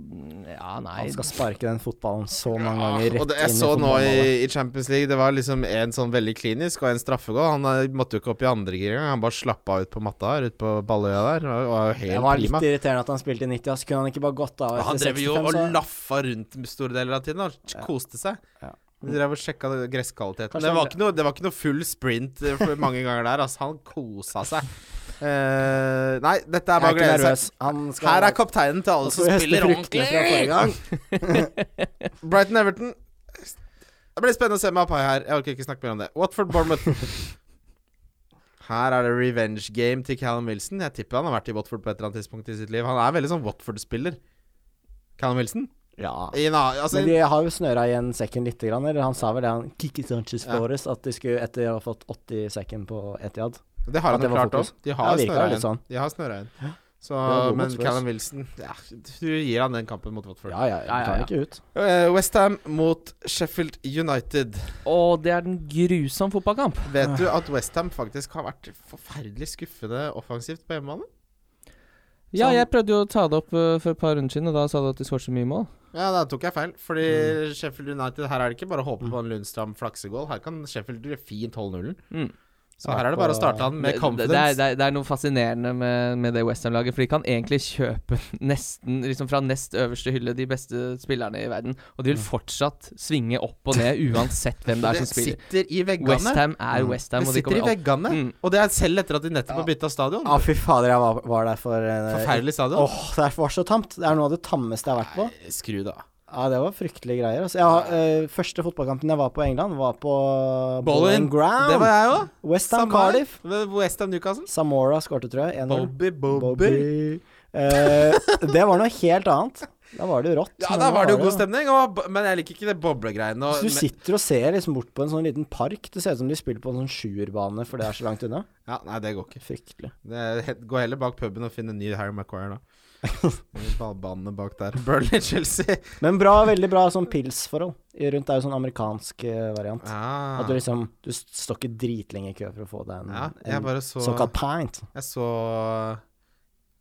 Speaker 4: Ja, nei
Speaker 1: Han skal sparke den fotballen så mange
Speaker 3: Ja,
Speaker 1: ganger
Speaker 3: Ah, og
Speaker 1: rett
Speaker 3: det, jeg
Speaker 1: inn i
Speaker 3: så nå i,
Speaker 1: fotballmålet.
Speaker 3: i Champions League, det var liksom en sånn veldig klinisk og en straffegål. Han eh, måtte jo ikke opp i andre gir engang, han bare slappa ut på matta her, ut på Balløya der. Og, var jo
Speaker 1: Det
Speaker 3: helt
Speaker 1: var litt
Speaker 3: prima.
Speaker 1: irriterende at han spilte i 90, så kunne han ikke bare gått av
Speaker 3: Han
Speaker 1: etter
Speaker 3: drev jo
Speaker 1: 65.
Speaker 3: og
Speaker 1: så-
Speaker 3: laffa rundt store deler av tiden og koste seg.
Speaker 1: Ja.
Speaker 3: De drev og sjekka gresskvaliteten.
Speaker 1: Kanskje
Speaker 3: Det
Speaker 1: han
Speaker 3: var,
Speaker 1: ble-
Speaker 3: ikke noe, det var ikke noe full sprint eh, for mange ganger der. Altså, han kosa seg. Eh, nei, dette er
Speaker 1: Jeg
Speaker 3: bare
Speaker 1: er
Speaker 3: å
Speaker 1: ikke
Speaker 3: glede seg.
Speaker 1: nervøs. Han skal
Speaker 3: Her er kapteinen til alle
Speaker 1: han
Speaker 3: som
Speaker 1: skal høste
Speaker 3: spiller
Speaker 1: fruktene fra
Speaker 3: ordentlig!
Speaker 1: forrige gang.
Speaker 3: Brighton Everton. Det blir spennende å se med Apai her. Jeg orker ikke snakke mer om det. Watford Bournemouth. Her er det revenge game til Callum Wilson. Jeg tipper han har vært i Watford på et eller annet tidspunkt i sitt liv. Han er veldig sånn Watford-spiller. Callum Wilson?
Speaker 1: Ja.
Speaker 3: I en annen altså,
Speaker 1: Men de har jo snøra igjen sekken lite grann, eller han sa vel det, han Kiki Sanchez
Speaker 3: Ja.
Speaker 1: Flores, at de skulle, etter å ha fått 80 sekken på Etiad
Speaker 3: Det har han
Speaker 1: at det
Speaker 3: jo
Speaker 1: var
Speaker 3: klart òg.
Speaker 1: fokus.
Speaker 3: De
Speaker 1: Ja,
Speaker 3: har
Speaker 1: det virker
Speaker 3: snøra
Speaker 1: litt
Speaker 3: inn.
Speaker 1: sånn.
Speaker 3: De har snøra inn. Så,
Speaker 1: var
Speaker 3: men
Speaker 1: god mot Spurs.
Speaker 3: Callum Wilson ja, Du gir han den kampen mot Watford.
Speaker 1: Ja, ja,
Speaker 4: Ja, ja,
Speaker 1: tar
Speaker 4: ja.
Speaker 1: han ikke ut.
Speaker 3: Eh, West Westham mot Sheffield United.
Speaker 4: Og det er en grusom fotballkamp.
Speaker 3: Vet du at Westham faktisk har vært forferdelig skuffende offensivt på hjemmebane?
Speaker 4: Ja,
Speaker 3: Sånn.
Speaker 4: jeg prøvde jo å ta det opp eh, for et par runder siden, og da sa du at de skåret så mye mål.
Speaker 3: Ja, da tok jeg feil. Fordi
Speaker 4: Mm.
Speaker 3: Sheffield United Her er det ikke bare å håpe på en Lundstram flaksegål. Her kan Sheffield fint holde nullen.
Speaker 4: Mm.
Speaker 3: Så her er det bare å starte han med
Speaker 4: det, det,
Speaker 3: confidence.
Speaker 4: det, er, det, er, det er noe fascinerende med, med det Westham-laget. For de kan egentlig kjøpe nesten liksom fra nest øverste hylle de beste spillerne i verden. Og de vil
Speaker 3: Mm.
Speaker 4: fortsatt svinge opp og ned uansett hvem det er som spiller.
Speaker 3: sitter i veggene. Mm.
Speaker 4: Westham er Westham,
Speaker 3: Det
Speaker 4: og de
Speaker 3: sitter i
Speaker 4: kommer opp.
Speaker 3: veggene.
Speaker 4: Mm.
Speaker 3: Og det er selv etter at de nettopp har bytta stadion.
Speaker 1: Ja, fy fader, jeg var, var der for eh,
Speaker 3: Forferdelig
Speaker 1: Åh,
Speaker 3: stadion.
Speaker 1: det er- var så tamt. Det er noe av det tammeste jeg har vært på.
Speaker 3: Nei, Skru det av.
Speaker 1: Ja, det var fryktelige greier. Altså, jeg, har, eh, første fotballkampen jeg var på i England, var på Bowling
Speaker 3: Det var
Speaker 1: Ground.
Speaker 3: jeg òg.
Speaker 1: Westham Cardiff.
Speaker 3: Westham Newcastle.
Speaker 1: Samora skårte, tror jeg. 1-0.
Speaker 3: Bobby, Bobby.
Speaker 1: Bobby. Eh, det var noe helt annet. Da var det jo rått.
Speaker 3: Ja,
Speaker 1: men
Speaker 3: da var det jo god
Speaker 1: jo-
Speaker 3: stemning, og, men jeg liker ikke det boblegreiene. og-
Speaker 1: Så du sitter og ser liksom bort på en sånn liten park. Det ser ut som de spiller på en sånn sjuerbane, for det er så langt unna.
Speaker 3: Ja, nei, det går ikke.
Speaker 1: Fryktelig.
Speaker 3: Det er he- Gå heller bak puben og finne en ny Harry Maguire, da. I Ballbanene bak der. Burnley-Chelsea.
Speaker 1: Men bra, veldig bra sånn pilsforhold. I- Rundt er jo sånn amerikansk eh, variant.
Speaker 3: Ah.
Speaker 1: At du liksom Du s- står ikke dritlenge i kø for å få deg en,
Speaker 3: Ja, jeg
Speaker 1: en
Speaker 3: bare så
Speaker 1: såkalt pint.
Speaker 3: Jeg så eh,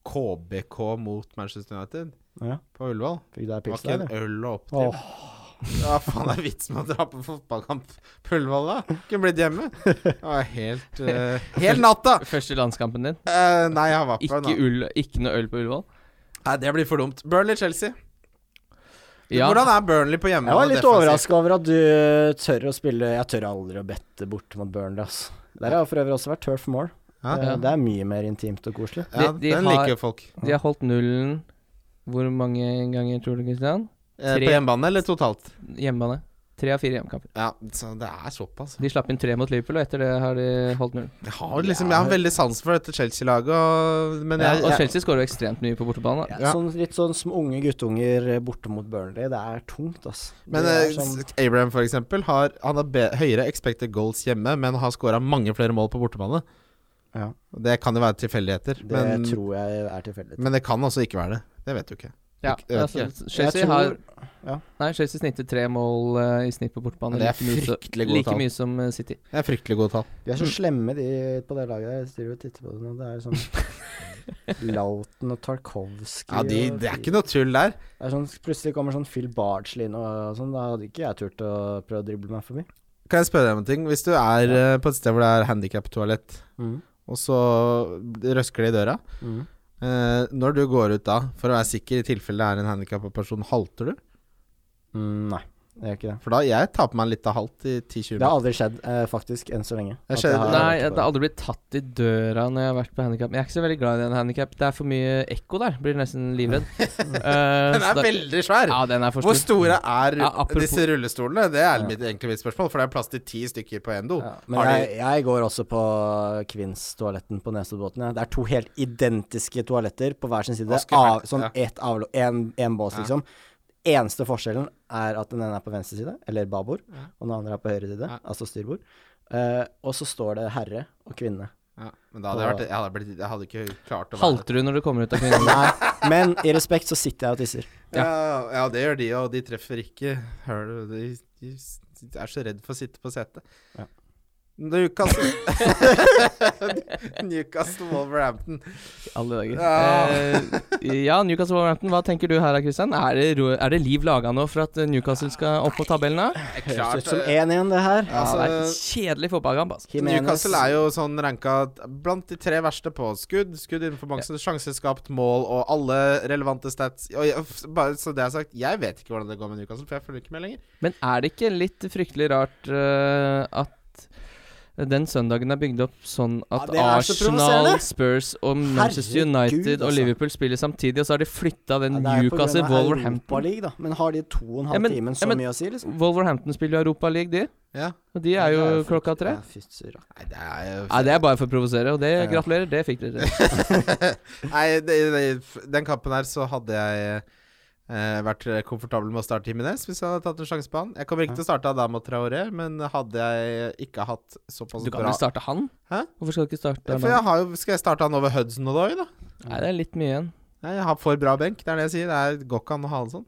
Speaker 3: KBK mot Manchester United
Speaker 1: Ja,
Speaker 3: på Ullevål.
Speaker 1: fikk du deg
Speaker 3: Det var
Speaker 1: pils
Speaker 3: ikke
Speaker 1: der,
Speaker 3: en
Speaker 1: eller?
Speaker 3: øl å opp til.
Speaker 1: Åh,
Speaker 3: Hva faen er vitsen med å dra på fotballkamp på Ullevål, da? Kunne blitt hjemme. Det var helt eh, Helt natta!
Speaker 4: Første landskampen din.
Speaker 3: Eh, nei, jeg var på en
Speaker 4: Ikke,
Speaker 3: annen.
Speaker 4: ull, ikke noe øl på Ullevål.
Speaker 3: Nei, det blir for dumt. Burnley-Chelsea.
Speaker 4: Ja,
Speaker 3: Hvordan er Burnley på hjemme?
Speaker 1: Jeg var litt
Speaker 3: overrasket
Speaker 1: overraska over at du tør å spille Jeg tør aldri å bette bort mot Burnley, ass. Der har for øvrig også vært Turf Moor.
Speaker 3: Ja.
Speaker 1: Eh, Det er mye mer intimt og koselig.
Speaker 3: Ja,
Speaker 4: De- de
Speaker 3: den
Speaker 4: har-
Speaker 3: liker folk.
Speaker 4: de har holdt nullen hvor mange ganger, tror du, Kristian?
Speaker 3: Eh,
Speaker 4: Tre-
Speaker 3: på hjemmebane eller totalt?
Speaker 4: Hjemmebane. Tre av fire hjemmekamper.
Speaker 3: Ja, så det er såpass.
Speaker 4: De slapp inn tre mot Liverpool, og etter det har de holdt nullen.
Speaker 3: Jeg har liksom Jeg har veldig sans for dette Chelsea-laget, og- men
Speaker 4: Ja,
Speaker 3: jeg,
Speaker 4: og
Speaker 3: jeg,
Speaker 4: Chelsea skårer jo ekstremt mye på bortebane. da.
Speaker 3: Ja.
Speaker 1: Sånn, litt sånn som unge guttunger eh, borte mot Burnley. Det er tungt, ass.
Speaker 3: Men
Speaker 1: det
Speaker 3: eh,
Speaker 1: er sånn,
Speaker 3: Abraham, for eksempel, har, han har be høyere expected goals hjemme, men har scora mange flere mål på bortebane.
Speaker 1: Ja.
Speaker 3: Det kan jo være tilfeldigheter,
Speaker 1: det
Speaker 3: men,
Speaker 1: tror jeg er tilfeldig.
Speaker 3: men det kan også ikke være det. Det vet du ikke.
Speaker 4: Ja,
Speaker 3: Jeg vet
Speaker 4: altså,
Speaker 3: ikke.
Speaker 4: Chelsea
Speaker 1: Jeg tror-
Speaker 4: har
Speaker 1: ja.
Speaker 4: Nei, Chelsea snittet tre mål eh, i snitt på
Speaker 3: Men
Speaker 4: bortebane.
Speaker 3: det er
Speaker 4: like mye som-
Speaker 3: fryktelig gode
Speaker 4: Like
Speaker 3: tall.
Speaker 4: mye som eh, City.
Speaker 3: Det er fryktelig gode tall.
Speaker 1: De er så slemme, de på det laget der. Jeg styrer og titter på det nå. Det er sånn Lauten og Tarkovskij
Speaker 3: Ja, de,
Speaker 1: og
Speaker 3: Det er ikke noe tull der.
Speaker 1: Det er sånn, plutselig kommer sånn Phil Bardsley inn og, og sånn. Da hadde ikke jeg turt å prøve å drible meg forbi.
Speaker 3: Kan jeg spørre deg om en ting? Hvis du er eh, på et sted hvor det er handikap-toalett,
Speaker 1: Mhm.
Speaker 3: og så røsker det i døra
Speaker 1: Mhm.
Speaker 3: eh, Når du går ut da, for å være sikker i tilfelle det er en handikappa person, halter du?
Speaker 1: Mm, nei. Det gjør ikke det.
Speaker 3: For da jeg tar på meg litt av halvt i 10-20
Speaker 1: Det har
Speaker 3: minutter.
Speaker 1: aldri skjedd, eh, faktisk, enn så lenge.
Speaker 3: Det
Speaker 1: At
Speaker 3: skjedde-
Speaker 1: jeg har-
Speaker 4: Nei, jeg har aldri blitt tatt i døra når jeg har vært på handikap. Jeg er ikke så veldig glad i den handikap. Det er for mye ekko der. Blir nesten livredd. Eh,
Speaker 3: Den
Speaker 4: så
Speaker 3: er
Speaker 4: da-
Speaker 3: veldig svær!
Speaker 4: Ja, den er for
Speaker 3: Hvor
Speaker 4: stor.
Speaker 3: store er
Speaker 4: Ja, apropos-
Speaker 3: disse rullestolene? Det er mitt, egentlig mitt spørsmål, for det er plass til ti stykker på én do.
Speaker 1: Ja, men
Speaker 3: Har de-
Speaker 1: jeg, jeg går også på kvinnstoaletten på Nesoddbåten. Ja. Det er to helt identiske toaletter på hver sin side.
Speaker 3: Å, skummelt.
Speaker 1: Av, som
Speaker 3: Ja.
Speaker 1: ett avlo... En, en bås,
Speaker 3: Ja.
Speaker 1: liksom. Eneste forskjellen er at den ene er på venstre side, eller babord, og den andre er på høyre side,
Speaker 3: Ja.
Speaker 1: altså styrbord. Eh, og så står det herre og kvinne.
Speaker 3: Ja, men da hadde jeg, vært, jeg, hadde blitt, jeg hadde ikke klart å være
Speaker 4: Halter du når du kommer ut av kvinnen?
Speaker 1: Nei, men i respekt så sitter jeg og tisser.
Speaker 3: Ja. ja, det gjør de, og de treffer ikke Hører du, de, de, s- de er så redd for å sitte på setet.
Speaker 1: Ja.
Speaker 3: Newcastle Newcastle Wolverhampton.
Speaker 4: Alle dager.
Speaker 3: Ja.
Speaker 4: Eh, ja, Newcastle Wolverhampton, hva tenker du her da, Christian? Er det, ro- er det liv laga nå for at eh, Newcastle skal opp på tabellen? da?
Speaker 1: Høres
Speaker 3: eh.
Speaker 1: ut som 1-1, det her.
Speaker 4: Ja, det er en
Speaker 3: Altså,
Speaker 4: kjedelig fotballkamp, altså.
Speaker 1: Jimenez.
Speaker 3: Newcastle er jo sånn ranka t- blant de tre verste på skudd, skudd innenfor boksen, sjanser skapt, mål og alle relevante stats. Og jeg, f- bare så det er sagt, jeg vet ikke hvordan det går med Newcastle, for jeg følger ikke med lenger.
Speaker 4: Men er det ikke litt fryktelig rart eh, at den søndagen er bygd opp sånn at
Speaker 1: Ja, det er så
Speaker 4: Arsenal,
Speaker 1: provoserende.
Speaker 4: Spurs og Manchester
Speaker 1: Herregud,
Speaker 4: United og
Speaker 1: altså.
Speaker 4: Liverpool spiller samtidig, og så har de flytta
Speaker 1: Ja,
Speaker 4: den
Speaker 1: det er på grunn av
Speaker 4: Newcastle
Speaker 1: Europa
Speaker 4: Wolverhampton.
Speaker 1: League, da. Men har de to og en
Speaker 4: Ja,
Speaker 1: halv
Speaker 4: men-
Speaker 1: timen så
Speaker 4: ja, men-
Speaker 1: mye å si, liksom?
Speaker 4: Wolverhampton spiller jo Europa League, de.
Speaker 3: Ja.
Speaker 4: Og de er jo klokka tre.
Speaker 1: Ja, fy søren.
Speaker 3: Nei, det er jo
Speaker 4: Nei, det er bare for å provosere, og det
Speaker 3: Ja.
Speaker 4: gratulerer, det fikk dere.
Speaker 3: Nei, det, det, f- den kampen her så hadde jeg eh, vært komfortabel med å starte Jimenez hvis jeg hadde tatt en sjanse på han. Jeg kommer ikke til å starte Adama Traoré, men hadde jeg ikke hatt såpass
Speaker 4: Du kan
Speaker 3: bra
Speaker 4: jo starte han.
Speaker 3: Hæ?
Speaker 4: Hvorfor skal du ikke starte
Speaker 3: For
Speaker 4: han?
Speaker 3: jeg har jo, Skal jeg starte han over Hudson og Doy, da?
Speaker 4: Nei, det er litt mye igjen.
Speaker 3: Nei, jeg har for bra benk, det er det jeg sier. Det er går ikke an å ha det sånn.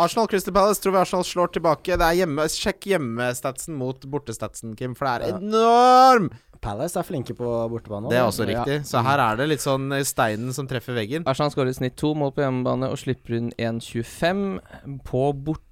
Speaker 3: Arsenal Crystal Palace, tror vi Arsenal slår tilbake. Det er hjemme, Sjekk hjemmestatsen mot bortestatsen, Kim, for det
Speaker 1: Ja.
Speaker 3: er enorm!
Speaker 1: Palace er flinke på bortebane.
Speaker 3: Det er
Speaker 1: da.
Speaker 3: også riktig. Så her er det litt sånn eh, steinen som treffer veggen.
Speaker 4: Arsenal skårer i snitt to mål på hjemmebane og slipper inn 1,25. På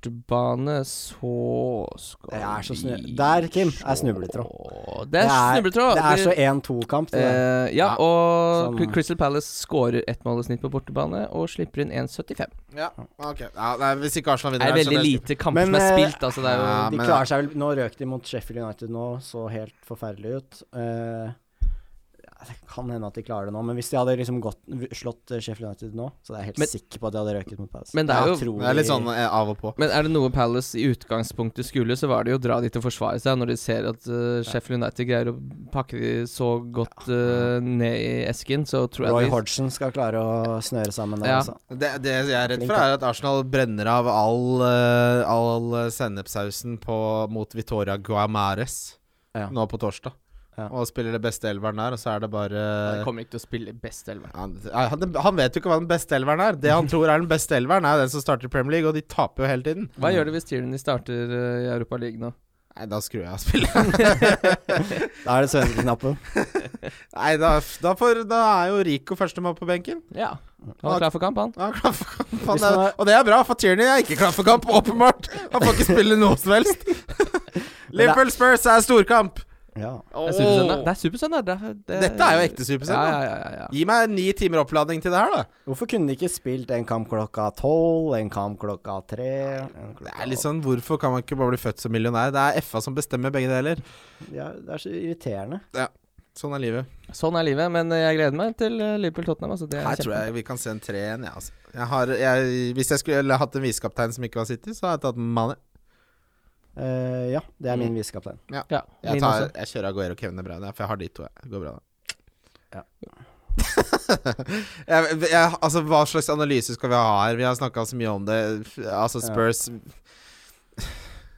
Speaker 4: bortebane så skal
Speaker 1: Det er så
Speaker 4: vi
Speaker 1: snu- Der, Kim, er snubletråd.
Speaker 4: se. Det er snubletråd.
Speaker 1: Det er så
Speaker 4: Det-
Speaker 1: 1-2-kamp. det der.
Speaker 4: Eh, ja, og
Speaker 1: Sånn.
Speaker 4: Cry- Crystal Palace skårer ett mål i snitt på bortebane og slipper inn 1,75.
Speaker 3: Ja, ok. Ja, nei, hvis ikke Arsenal
Speaker 4: Det
Speaker 3: vinner
Speaker 4: er
Speaker 3: her, så
Speaker 4: veldig
Speaker 3: blir det-
Speaker 4: lite kamper
Speaker 1: Men,
Speaker 4: som er
Speaker 1: eh,
Speaker 4: spilt, altså. Det er jo
Speaker 3: ja,
Speaker 1: De
Speaker 3: men-
Speaker 1: klarer seg vel Nå røk de mot Sheffield United nå, så helt forferdelig ut. Eh, ja, det kan hende at de klarer det nå, men hvis de hadde liksom gått, slått eh, Sheffield United nå, så er jeg helt
Speaker 4: Men-
Speaker 1: sikker på at de hadde røket mot Palace.
Speaker 4: Men det er
Speaker 1: Jeg
Speaker 4: jo-
Speaker 1: tror
Speaker 3: Det er litt
Speaker 1: de-
Speaker 3: sånn eh, av og på.
Speaker 4: Men er det noe Palace i utgangspunktet skulle, så var det jo å dra dit og forsvare seg, når de ser at eh, Sheffield United greier å pakke de så godt eh, ned i esken, så tror jeg
Speaker 1: Roy
Speaker 4: de
Speaker 1: Hodgson skal klare å snøre sammen der,
Speaker 4: Ja.
Speaker 1: altså.
Speaker 3: Det, det jeg er redd
Speaker 1: Flink,
Speaker 3: for, er at Arsenal brenner av all, eh, all eh, sennepsausen på, mot Vitoria Guamares
Speaker 1: Ja.
Speaker 3: nå på torsdag.
Speaker 1: Ja.
Speaker 3: Og spiller det beste elveren der, og så er det bare
Speaker 4: De kommer ikke til å spille best elver.
Speaker 3: han, han, han vet jo ikke hva den beste elveren er. Det han tror er den beste elveren, er den som starter i Premier League, og de taper jo hele tiden.
Speaker 4: Hva gjør det hvis Tierney starter eh, i Europa League nå?
Speaker 3: Nei, da skrur jeg av spillet.
Speaker 1: Da er det svenskeknappen.
Speaker 3: Nei, da, da, får, da er jo Rico førstemann på benken.
Speaker 4: Ja. Han er klar for kamp, han.
Speaker 3: Ja, klar for kamp.
Speaker 1: Hvis
Speaker 3: Han
Speaker 1: man
Speaker 3: er,
Speaker 1: er-
Speaker 3: og det er bra, for Tierney er ikke klar for kamp, åpenbart. Han får ikke spille noe som helst. Liverpool Spurs er storkamp.
Speaker 1: Ja.
Speaker 4: Det er supersøndag.
Speaker 3: Åh.
Speaker 4: Det er supersøndag. Det, det,
Speaker 3: Dette er jo ekte supersøndag.
Speaker 4: Ja, ja, ja, ja, ja.
Speaker 3: Gi meg ni timer oppladning til det her, da.
Speaker 1: Hvorfor kunne de ikke spilt en kamp klokka tolv, en kamp klokka tre en klokka
Speaker 3: Det er litt sånn, Hvorfor kan man ikke bare bli født som millionær? Det er FA som bestemmer begge deler.
Speaker 1: Ja, det er så irriterende.
Speaker 3: Sånn er livet.
Speaker 4: Sånn er livet, men jeg gleder meg til eh, Liverpool-Tottenham. Altså, det er
Speaker 3: Her tror
Speaker 4: kjempe-
Speaker 3: jeg vi kan se en 3-1, jeg, altså. Jeg har, jeg, hvis jeg skulle hatt en visekaptein som ikke var City, så hadde jeg tatt Mane.
Speaker 1: Eh, ja, det er min
Speaker 3: Mm.
Speaker 1: visekaptein.
Speaker 4: Ja,
Speaker 3: Jeg,
Speaker 4: min
Speaker 3: tar,
Speaker 4: også.
Speaker 3: jeg kjører Aguero og Kevin De Bruyne, for jeg har de to. Jeg. Det går bra, da.
Speaker 1: Ja.
Speaker 3: jeg, jeg, altså, hva slags analyse skal vi ha her? Vi har snakka så mye om det. Altså, Spurs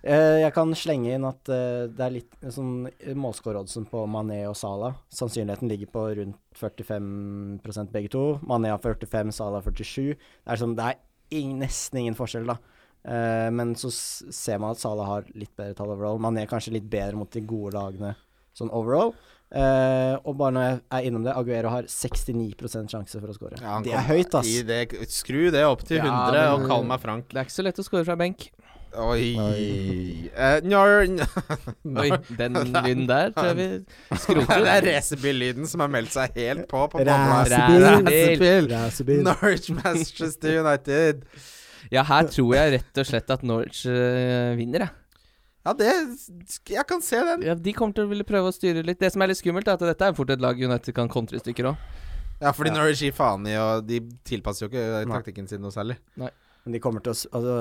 Speaker 1: Eh, jeg kan slenge inn at eh, det er litt sånn målskåroddsen på Mané og Salah. Sannsynligheten ligger på rundt 45 begge to. Mané har 45, Salah 47. Det er, sånn, det er ing- nesten ingen forskjell, da. Eh, men så s- ser man at Salah har litt bedre tall overall. Mané kanskje litt bedre mot de gode lagene sånn overall. Eh, og bare når jeg er innom det, Aguero har 69 sjanse for å skåre.
Speaker 3: Ja, han
Speaker 1: det er
Speaker 3: kom
Speaker 1: høyt, ass.
Speaker 3: i det, skru det opp til
Speaker 4: Ja,
Speaker 3: 100 og
Speaker 4: men-
Speaker 3: kall meg Frank.
Speaker 4: Det er ikke så lett å score fra benk.
Speaker 3: Oi,
Speaker 1: Oi.
Speaker 3: Eh, njar, njar.
Speaker 4: Oi, den lyden der tror jeg vi skroter.
Speaker 3: Det er racerbillyden som har meldt seg helt på. på
Speaker 1: Racerbil.
Speaker 3: Racerbil.
Speaker 4: Racerbil.
Speaker 1: Racerbil.
Speaker 3: Norwich Manchester United.
Speaker 4: Ja, her tror jeg rett og slett at Norwich eh, vinner, jeg.
Speaker 3: Ja, det Jeg kan se den.
Speaker 4: Ja, de kommer til å ville prøve å styre litt. Det som er litt skummelt, er at dette er fort et lag United kan kontre i stykker òg.
Speaker 3: Ja, fordi
Speaker 1: Ja.
Speaker 3: Norwich gir faen i, og de tilpasser jo ikke eh,
Speaker 1: Nei.
Speaker 3: taktikken sin noe særlig.
Speaker 1: Men de kommer til å s- altså,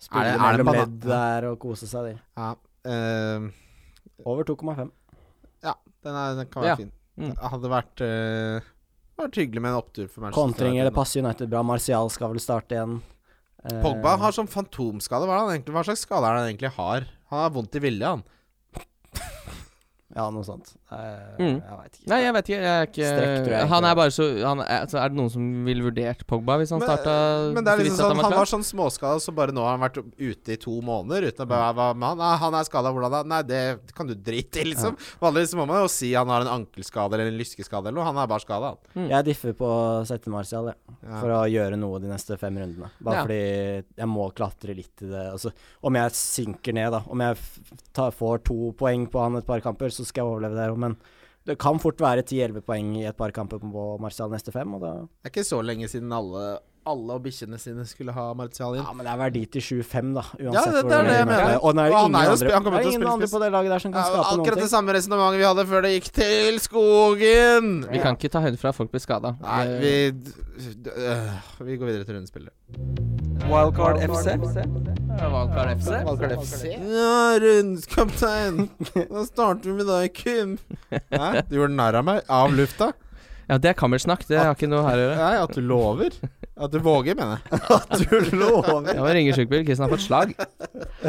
Speaker 1: spille
Speaker 3: Er det- er det
Speaker 1: mellom
Speaker 3: bana-
Speaker 1: ledd der og kose seg, de.
Speaker 3: Ja, eh,
Speaker 1: Over 2,5.
Speaker 3: den, er, den kan være
Speaker 4: Ja.
Speaker 3: fin.
Speaker 4: Mm.
Speaker 3: Det hadde vært eh, det hadde vært hyggelig med en opptur for Manchester
Speaker 1: Kontring
Speaker 3: United
Speaker 1: eller
Speaker 3: nå.
Speaker 1: passe United bra. Martial skal vel starte igjen. Eh,
Speaker 3: Pogba har sånn fantomskade. Hva, er det han egentlig, hva slags skade er det han egentlig har? Han har vondt i vilje, han.
Speaker 1: Ja, noe sånt. Eh,
Speaker 4: Mm.
Speaker 1: Jeg veit ikke.
Speaker 4: Nei, jeg vet ikke. Jeg er ikke
Speaker 1: Strekk, tror jeg
Speaker 4: Han
Speaker 1: ikke.
Speaker 4: er bare så han er, altså, Er det noen som ville vurdert Pogba hvis han
Speaker 3: Men-
Speaker 4: starta
Speaker 3: Men det er liksom
Speaker 4: fritt at
Speaker 3: sånn, han
Speaker 4: klar?
Speaker 3: var sånn småskada, så bare nå har han vært ute i to måneder uten å bare hva med han? Nei, han er skada, hvordan da? Nei, det kan du drite i, liksom. Vanligvis må man jo si han har en ankelskade eller en lyskeskade eller noe. Han er bare skada, han.
Speaker 1: Jeg differ på å sette Martial, jeg.
Speaker 3: Ja.
Speaker 1: For å gjøre noe de neste fem rundene. Bare
Speaker 4: Ja.
Speaker 1: fordi jeg må klatre litt i det. Altså, om jeg synker ned, da. Om jeg f- tar, får to poeng på han et par kamper, så skal jeg overleve det. Men det kan fort være 10-11 poeng i et par kamper på Martial neste fem. Og da,
Speaker 3: Det er ikke så lenge siden alle, alle og bikkjene sine skulle ha Martial inn.
Speaker 1: ja, men det er verdi til 7-5, da.
Speaker 3: Ja,
Speaker 1: Uansett
Speaker 3: det- det er
Speaker 1: hvordan
Speaker 3: det jeg
Speaker 1: vi møter
Speaker 3: mener.
Speaker 1: det. Og nå er det
Speaker 3: Og han
Speaker 1: ingen,
Speaker 3: er jo spi-
Speaker 1: andre,
Speaker 3: han kommer til å
Speaker 1: det er ingen
Speaker 3: spille
Speaker 1: andre på det laget der som
Speaker 3: Ja,
Speaker 1: kan skape
Speaker 3: akkurat det
Speaker 1: noen ting.
Speaker 3: samme resonnementet vi hadde før det gikk til skogen!
Speaker 4: Vi kan ikke ta høyde for at folk blir skada.
Speaker 3: Nei, vi d- øh, Vi går videre til rundespillet.
Speaker 4: Wildcard FC?
Speaker 2: Wildcard FC.
Speaker 3: Ja, rundskaptein! Da starter vi med deg, Kim. Hæ? Du gjorde narr av meg? Av lufta?
Speaker 4: Ja, det er kammersnakk. Det har ikke noe her å gjøre.
Speaker 3: Nei, at du lover. At du våger, mener jeg.
Speaker 1: Du lover!
Speaker 4: Jeg må ringe sjukbil. Kristian har fått slag.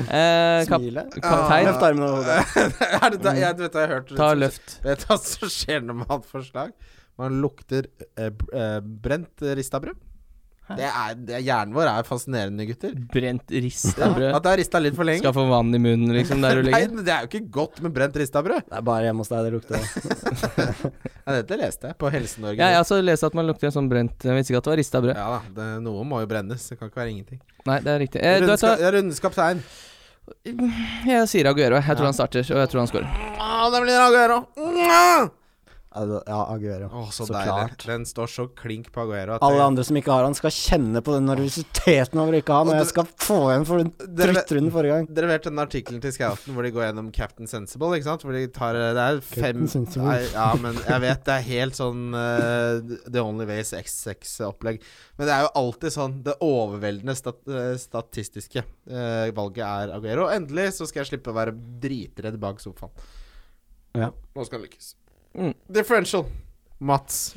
Speaker 4: Eh, kap
Speaker 1: Smile.
Speaker 4: kaptein,
Speaker 1: Løft armen over hodet.
Speaker 3: er det da, jeg du vet hva jeg har hørt sånn
Speaker 4: ta løft.
Speaker 3: Vet du hva som skjer når man har et forslag? Man lukter eh, b- eh, brent eh, rista brød. Det er, det, er- hjernen vår er fascinerende, gutter.
Speaker 4: Brent rista
Speaker 3: Ja,
Speaker 4: brød.
Speaker 3: at det er rista litt for lenge.
Speaker 4: Skal få vann i munnen, liksom, der du
Speaker 3: Nei,
Speaker 4: ligger.
Speaker 3: men det er jo ikke godt med brent rista brød.
Speaker 1: Det er bare hjemme hos deg det lukter.
Speaker 3: Ja, dette leste jeg på Helse-Norge.
Speaker 4: Ja, jeg har også lest at man lukter en sånn brent Jeg visste ikke at det var rista brød.
Speaker 3: Ja da, det, noe må jo brennes. Det kan ikke være ingenting.
Speaker 4: Nei, det er riktig. Eh, du vet
Speaker 3: Rundska,
Speaker 4: hva,
Speaker 3: ja, rundens kaptein.
Speaker 4: jeg sier Aguero. Jeg
Speaker 3: Ja.
Speaker 4: tror han starter, og jeg tror han scorer.
Speaker 3: Ah, det blir Aguero. Mwah!
Speaker 1: Ja, det- Ja, Aguero.
Speaker 3: Å, så,
Speaker 1: Så
Speaker 3: deilig.
Speaker 1: klart.
Speaker 3: Den står så klink på Aguero. at
Speaker 1: Alle
Speaker 3: jeg-
Speaker 1: andre som ikke har han, skal kjenne på den nervøsiteten over å ikke ha han.
Speaker 3: Og
Speaker 1: Og jeg
Speaker 3: dere-
Speaker 1: skal få igjen for den
Speaker 3: dere-
Speaker 1: drittrunden forrige gang.
Speaker 3: Dere vet den artikkelen til Scouten hvor de går gjennom Captain Sensible? ikke sant? Hvor de tar eh, Det er fem
Speaker 1: Captain Sensible.
Speaker 3: Nei, Ja, men jeg vet det er helt sånn eh, The Only Ways X6-opplegg. Men det er jo alltid sånn Det overveldende stat eh, statistiske eh, valget er Aguero. Og endelig så skal jeg slippe å være dritredd bak sofaen.
Speaker 1: Ja.
Speaker 3: Nå skal det lykkes.
Speaker 4: Mm.
Speaker 3: Differential. Mats.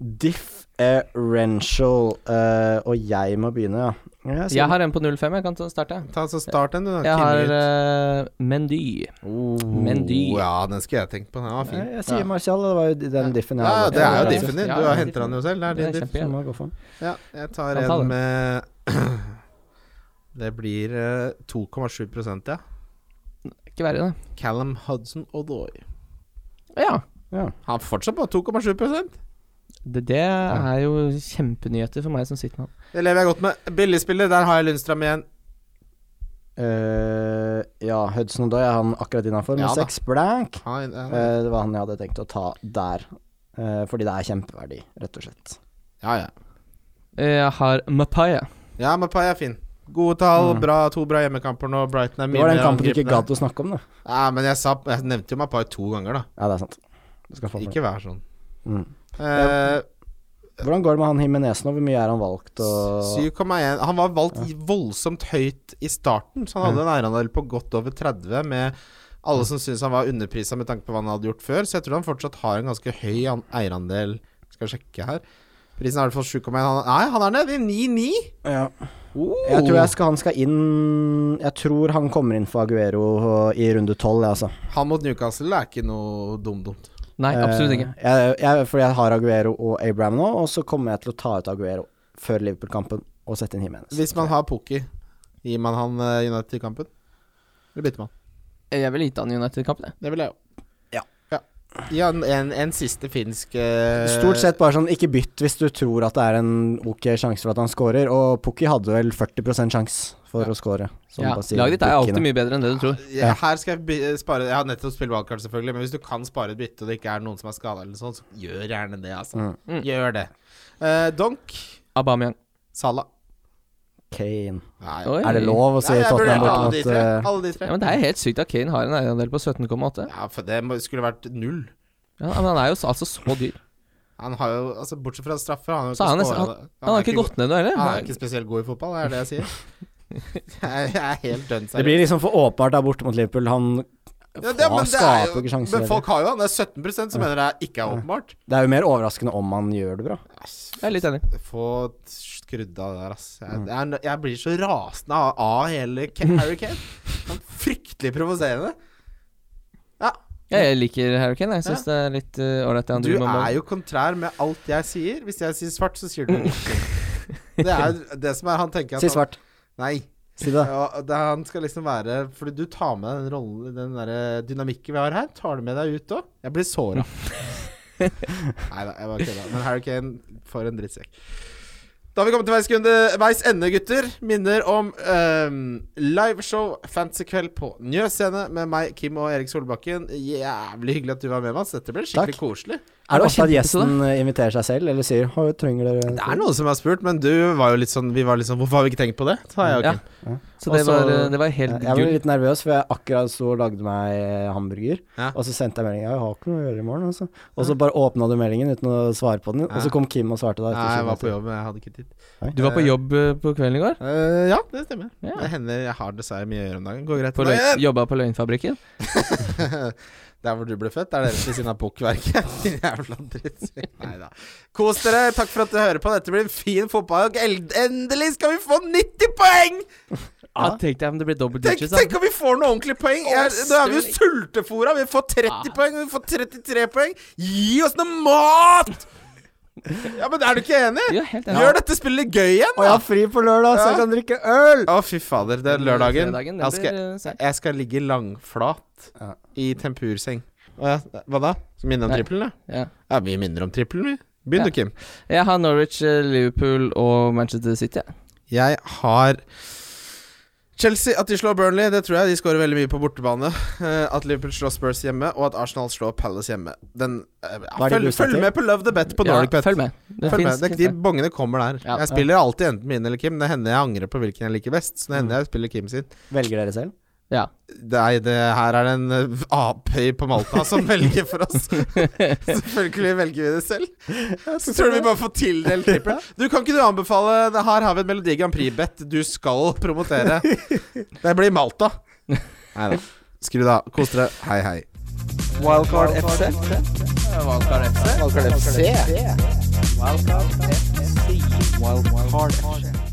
Speaker 1: Differential. eh, og jeg må begynne, ja. Jeg sier-
Speaker 4: Jeg har en på 05. Jeg kan ta- starte. jeg.
Speaker 3: Ta så Start den, du. da.
Speaker 4: Jeg har
Speaker 3: Kimmich.
Speaker 4: eh, Mendy.
Speaker 3: Oh,
Speaker 4: Mendy.
Speaker 3: Ja, den skulle jeg tenkt på. Den var fin.
Speaker 1: jeg, jeg sier Martial, det var jo d- den diffen jeg
Speaker 3: Ja, ja,
Speaker 1: hadde.
Speaker 3: det er jo
Speaker 4: Ja,
Speaker 3: diffen din.
Speaker 4: ja,
Speaker 3: Du har
Speaker 4: ja,
Speaker 3: henta den jo selv. Det er
Speaker 4: Det
Speaker 3: din
Speaker 4: er
Speaker 3: diff.
Speaker 4: kjempe-
Speaker 1: Så må jeg gå for den.
Speaker 3: Ja, jeg tar
Speaker 4: Kan ta
Speaker 3: en
Speaker 4: den.
Speaker 3: med Det blir eh, 2,7 ja.
Speaker 4: Ikke verre,
Speaker 3: Callum Hudson Odoi.
Speaker 4: det. Ja.
Speaker 1: Ja.
Speaker 3: Han er fortsatt på 2,7 Det
Speaker 4: Det, det er jo kjempenyheter for meg som sitter med han.
Speaker 3: lever jeg godt med. Billigspiller, der har jeg Lundstrøm igjen.
Speaker 1: Eh, ja, Hudson Odoi er han akkurat innafor, med
Speaker 3: Ja da.
Speaker 1: seks blank.
Speaker 3: Han, han,
Speaker 1: Eh, det var han jeg hadde tenkt å ta der. Eh, fordi det er kjempeverdi, rett og slett.
Speaker 3: ja, ja.
Speaker 4: Eh, Jeg har Mapaya.
Speaker 3: Ja, men Pai er fin. Gode tall,
Speaker 1: Mm.
Speaker 3: bra, to bra hjemmekamper nå. Brighton er
Speaker 1: Det var
Speaker 3: mindre
Speaker 1: den kampen du ikke
Speaker 3: angripende.
Speaker 1: gadd å snakke om, da.
Speaker 3: Ja, men jeg, sa, jeg nevnte jo Mapai to ganger, da.
Speaker 1: Ja, det er sant. Du skal få den.
Speaker 3: Ikke vær sånn.
Speaker 1: Mm.
Speaker 3: Eh,
Speaker 1: Hvordan går det med han Jimenez nå? Hvor mye er han valgt? Og...
Speaker 3: 7,1 Han var valgt voldsomt høyt i starten, så han hadde en eierandel på godt over 30 med alle som syntes han var underprisa med tanke på hva han hadde gjort før. Så jeg tror han fortsatt har en ganske høy an- eierandel. Skal sjekke her. Prisen er i hvert fall 7,1. Han- Nei, han er nede i 9,9!
Speaker 1: Ja.
Speaker 3: Oh.
Speaker 1: Jeg tror jeg skal, han skal inn Jeg tror han kommer inn for Aguero i runde tolv, jeg, altså.
Speaker 3: Han mot Newcastle er ikke noe dum-dumt.
Speaker 4: Nei, absolutt ikke.
Speaker 1: Eh, Jeg, jeg, fordi jeg har Aguero og Abraham nå, og så kommer jeg til å ta ut Aguero før Liverpool-kampen og sette inn Jimenez.
Speaker 3: Hvis man har Pookie, gir man han eh, United-kampen? Eller bytter man?
Speaker 4: Eh, Jeg vil gitt han United-kamp, det.
Speaker 3: Det vil jeg jo.
Speaker 1: Ja.
Speaker 3: ja. Gi han en, en siste finsk eh,
Speaker 1: Stort sett bare sånn, ikke bytt hvis du tror at det er en ok sjanse for at han scorer, og Pukki hadde vel 40 sjanse for å score. som
Speaker 4: Ja.
Speaker 1: bare sier
Speaker 4: Laget ditt er jo alltid
Speaker 1: bukkene.
Speaker 4: mye bedre enn det du tror.
Speaker 3: Ja. Her skal jeg by- eh, spare Jeg har nettopp spilt wildcard, selvfølgelig, men hvis du kan spare et bytte, og det ikke er noen som er skada, eller sånn, så gjør gjerne det, altså.
Speaker 1: Mm.
Speaker 4: Mm.
Speaker 3: Gjør det. Eh, Donk,
Speaker 4: Aubameyang.
Speaker 3: Salah
Speaker 1: Kane.
Speaker 3: Nei,
Speaker 4: Oi.
Speaker 1: Er det lov å si
Speaker 3: Nei, jeg vurderer
Speaker 1: Tottenham
Speaker 3: alle
Speaker 1: borte
Speaker 3: de
Speaker 1: mot
Speaker 3: tre.
Speaker 1: eh,
Speaker 3: Alle de tre.
Speaker 4: Ja, men Det er helt sykt at Kane har en eierandel på 17,8.
Speaker 3: Ja, for det må- skulle vært null.
Speaker 4: Ja, men han er jo s- altså så dyr.
Speaker 3: Han har jo, altså Bortsett fra straffer har han jo
Speaker 4: Så han er-
Speaker 3: scoret-
Speaker 4: Han har
Speaker 3: er
Speaker 4: ikke gått ned noe
Speaker 3: god- Han er
Speaker 4: heller.
Speaker 3: ikke spesielt god i fotball, det er det jeg sier. Jeg jeg er helt dønn
Speaker 1: Det blir liksom for åpenbart der borte mot Liverpool. Han
Speaker 3: Ja, det, men,
Speaker 1: han
Speaker 3: det er
Speaker 1: skaper
Speaker 3: jo,
Speaker 1: ikke sjanser.
Speaker 3: men
Speaker 1: heller.
Speaker 3: folk har jo han. Det er 17 som mener det ikke er åpenbart.
Speaker 1: Det er jo mer overraskende om han gjør det bra.
Speaker 4: Jeg er litt enig.
Speaker 3: Få skrudd av det der, ass. Jeg,
Speaker 1: Mm.
Speaker 3: jeg, er nø- jeg blir så rasende av, av hele Ke- Harry Kane. Han er Fryktelig provoserende. Ja,
Speaker 4: Jeg liker Harry Kane. Jeg syns det er litt eh, ålreit, det han
Speaker 3: du
Speaker 4: driver med. om
Speaker 3: er
Speaker 4: dagen.
Speaker 3: jo kontrær med alt jeg sier. Hvis jeg sier svart, så sier du rødt. Det er jo det som er Han tenker at
Speaker 1: Si svart.
Speaker 3: Han, nei.
Speaker 1: Si det.
Speaker 3: Ja, det, han skal liksom være Fordi du tar med deg den rollen Den der eh, dynamikken vi har her, tar du med deg ut òg? Jeg blir såra. Nei da, jeg bare kødda. Men Harry Kane, for en drittsekk. Da har vi kommet til veis, kunde, veis ende, gutter. Minner om ehm, liveshow fantasykveld på Njø scene med meg, Kim og Erik Solbakken. Jævlig hyggelig at du var med, Mats. Dette ble skikkelig
Speaker 1: Takk.
Speaker 3: koselig.
Speaker 1: Er det ofte at
Speaker 4: kjempesøt,
Speaker 1: gjesten eh, inviterer seg selv, eller sier «Hå, 'trenger dere
Speaker 3: Det er noen som har spurt, men du var jo litt sånn Vi var litt sånn Hvorfor har vi ikke tenkt på det? Så har jeg og
Speaker 4: Ja.
Speaker 3: Kim.
Speaker 4: Så det
Speaker 3: Også-
Speaker 4: var, eh, det var helt
Speaker 1: Jeg ble
Speaker 4: gull.
Speaker 1: litt nervøs, for jeg akkurat sto og lagde meg eh, hamburger.
Speaker 3: Ja.
Speaker 1: Og så sendte jeg melding Jeg har ikke noe å gjøre i morgen. Altså. Og så bare åpna du meldingen uten å svare på den. Og så
Speaker 3: Ja.
Speaker 1: kom Kim og svarte deg.
Speaker 3: Nei, jeg var på jobb, men jeg hadde ikke tid.
Speaker 4: Du var på jobb eh, på kvelden i går?
Speaker 3: Eh, ja, det stemmer.
Speaker 4: Ja.
Speaker 3: Det hender jeg har dessverre mye å gjøre om dagen. Går greit.
Speaker 4: På
Speaker 3: om
Speaker 4: løgn-
Speaker 3: dagen.
Speaker 4: Jobba på Løgnfabrikken?
Speaker 3: Der hvor du ble født, er dere ved siden av pukkverket. Din jævla drittsekk. Neida. Kos dere. Takk for at dere hører på. Dette blir en fin fotballdag. Eld- Endelig skal vi få 90 poeng!
Speaker 4: Ja, Ah, tenk deg om det blir double
Speaker 3: Tenk,
Speaker 4: digits. da.
Speaker 3: tenk om vi får noen ordentlige poeng. Jeg, nå er vi jo sultefora. Vi får 30 poeng, vi får 33 poeng. Gi oss noe mat! Ja, men er du ikke enig?
Speaker 4: Ja, helt enig.
Speaker 3: Gjør dette spillet gøy igjen,
Speaker 1: Og jeg
Speaker 3: da!
Speaker 1: har fri på lørdag, så
Speaker 3: Ja.
Speaker 1: jeg kan drikke øl!
Speaker 3: Å, fy fader. Det er lørdagen.
Speaker 4: Fredagen,
Speaker 3: Jeg
Speaker 4: det
Speaker 3: skal,
Speaker 4: blir eh, seigt.
Speaker 3: Jeg skal ligge langflat
Speaker 1: Ja.
Speaker 3: i tempurseng. Å ja, hva da? Skal vi minne om
Speaker 4: Nei.
Speaker 3: trippelen, da?
Speaker 4: Ja.
Speaker 3: Ja, vi minner om trippelen, vi. Begynn du,
Speaker 4: Ja.
Speaker 3: Kim.
Speaker 4: Jeg har Norwich, eh, Liverpool og Manchester City. jeg.
Speaker 3: Jeg har Chelsea, at de slår Burnley, det tror jeg. De skårer veldig mye på bortebane. Eh, At Liverpool slår Spurs hjemme, og at Arsenal slår Palace hjemme. Den, eh,
Speaker 1: er det
Speaker 3: følg,
Speaker 1: du setter?
Speaker 3: følg med på Love the Bet på
Speaker 4: Ja,
Speaker 3: Nordic Bet.
Speaker 4: følg med. Det
Speaker 3: Følg
Speaker 4: finnes-
Speaker 3: med. Det, de bongene kommer der.
Speaker 4: Ja.
Speaker 3: Jeg spiller alltid enten min eller Kim. Det hender jeg angrer på hvilken jeg liker best. Så det hender jeg spiller Kim sin.
Speaker 1: Velger dere selv?
Speaker 4: Ja.
Speaker 3: Nei, det her er det en eh, apøy på Malta som velger for oss. Selvfølgelig velger vi det selv. Så tror du vi bare får tildelt trippel. Du, kan ikke du anbefale det Her har vi et Melodi Grand Prix-bet du skal promotere. Det blir Malta. Nei da. Skru det av. Kos dere. Hei, hei.
Speaker 5: Wildcard FC. Wildcard FC. Wildcard FC. Wildcard FC.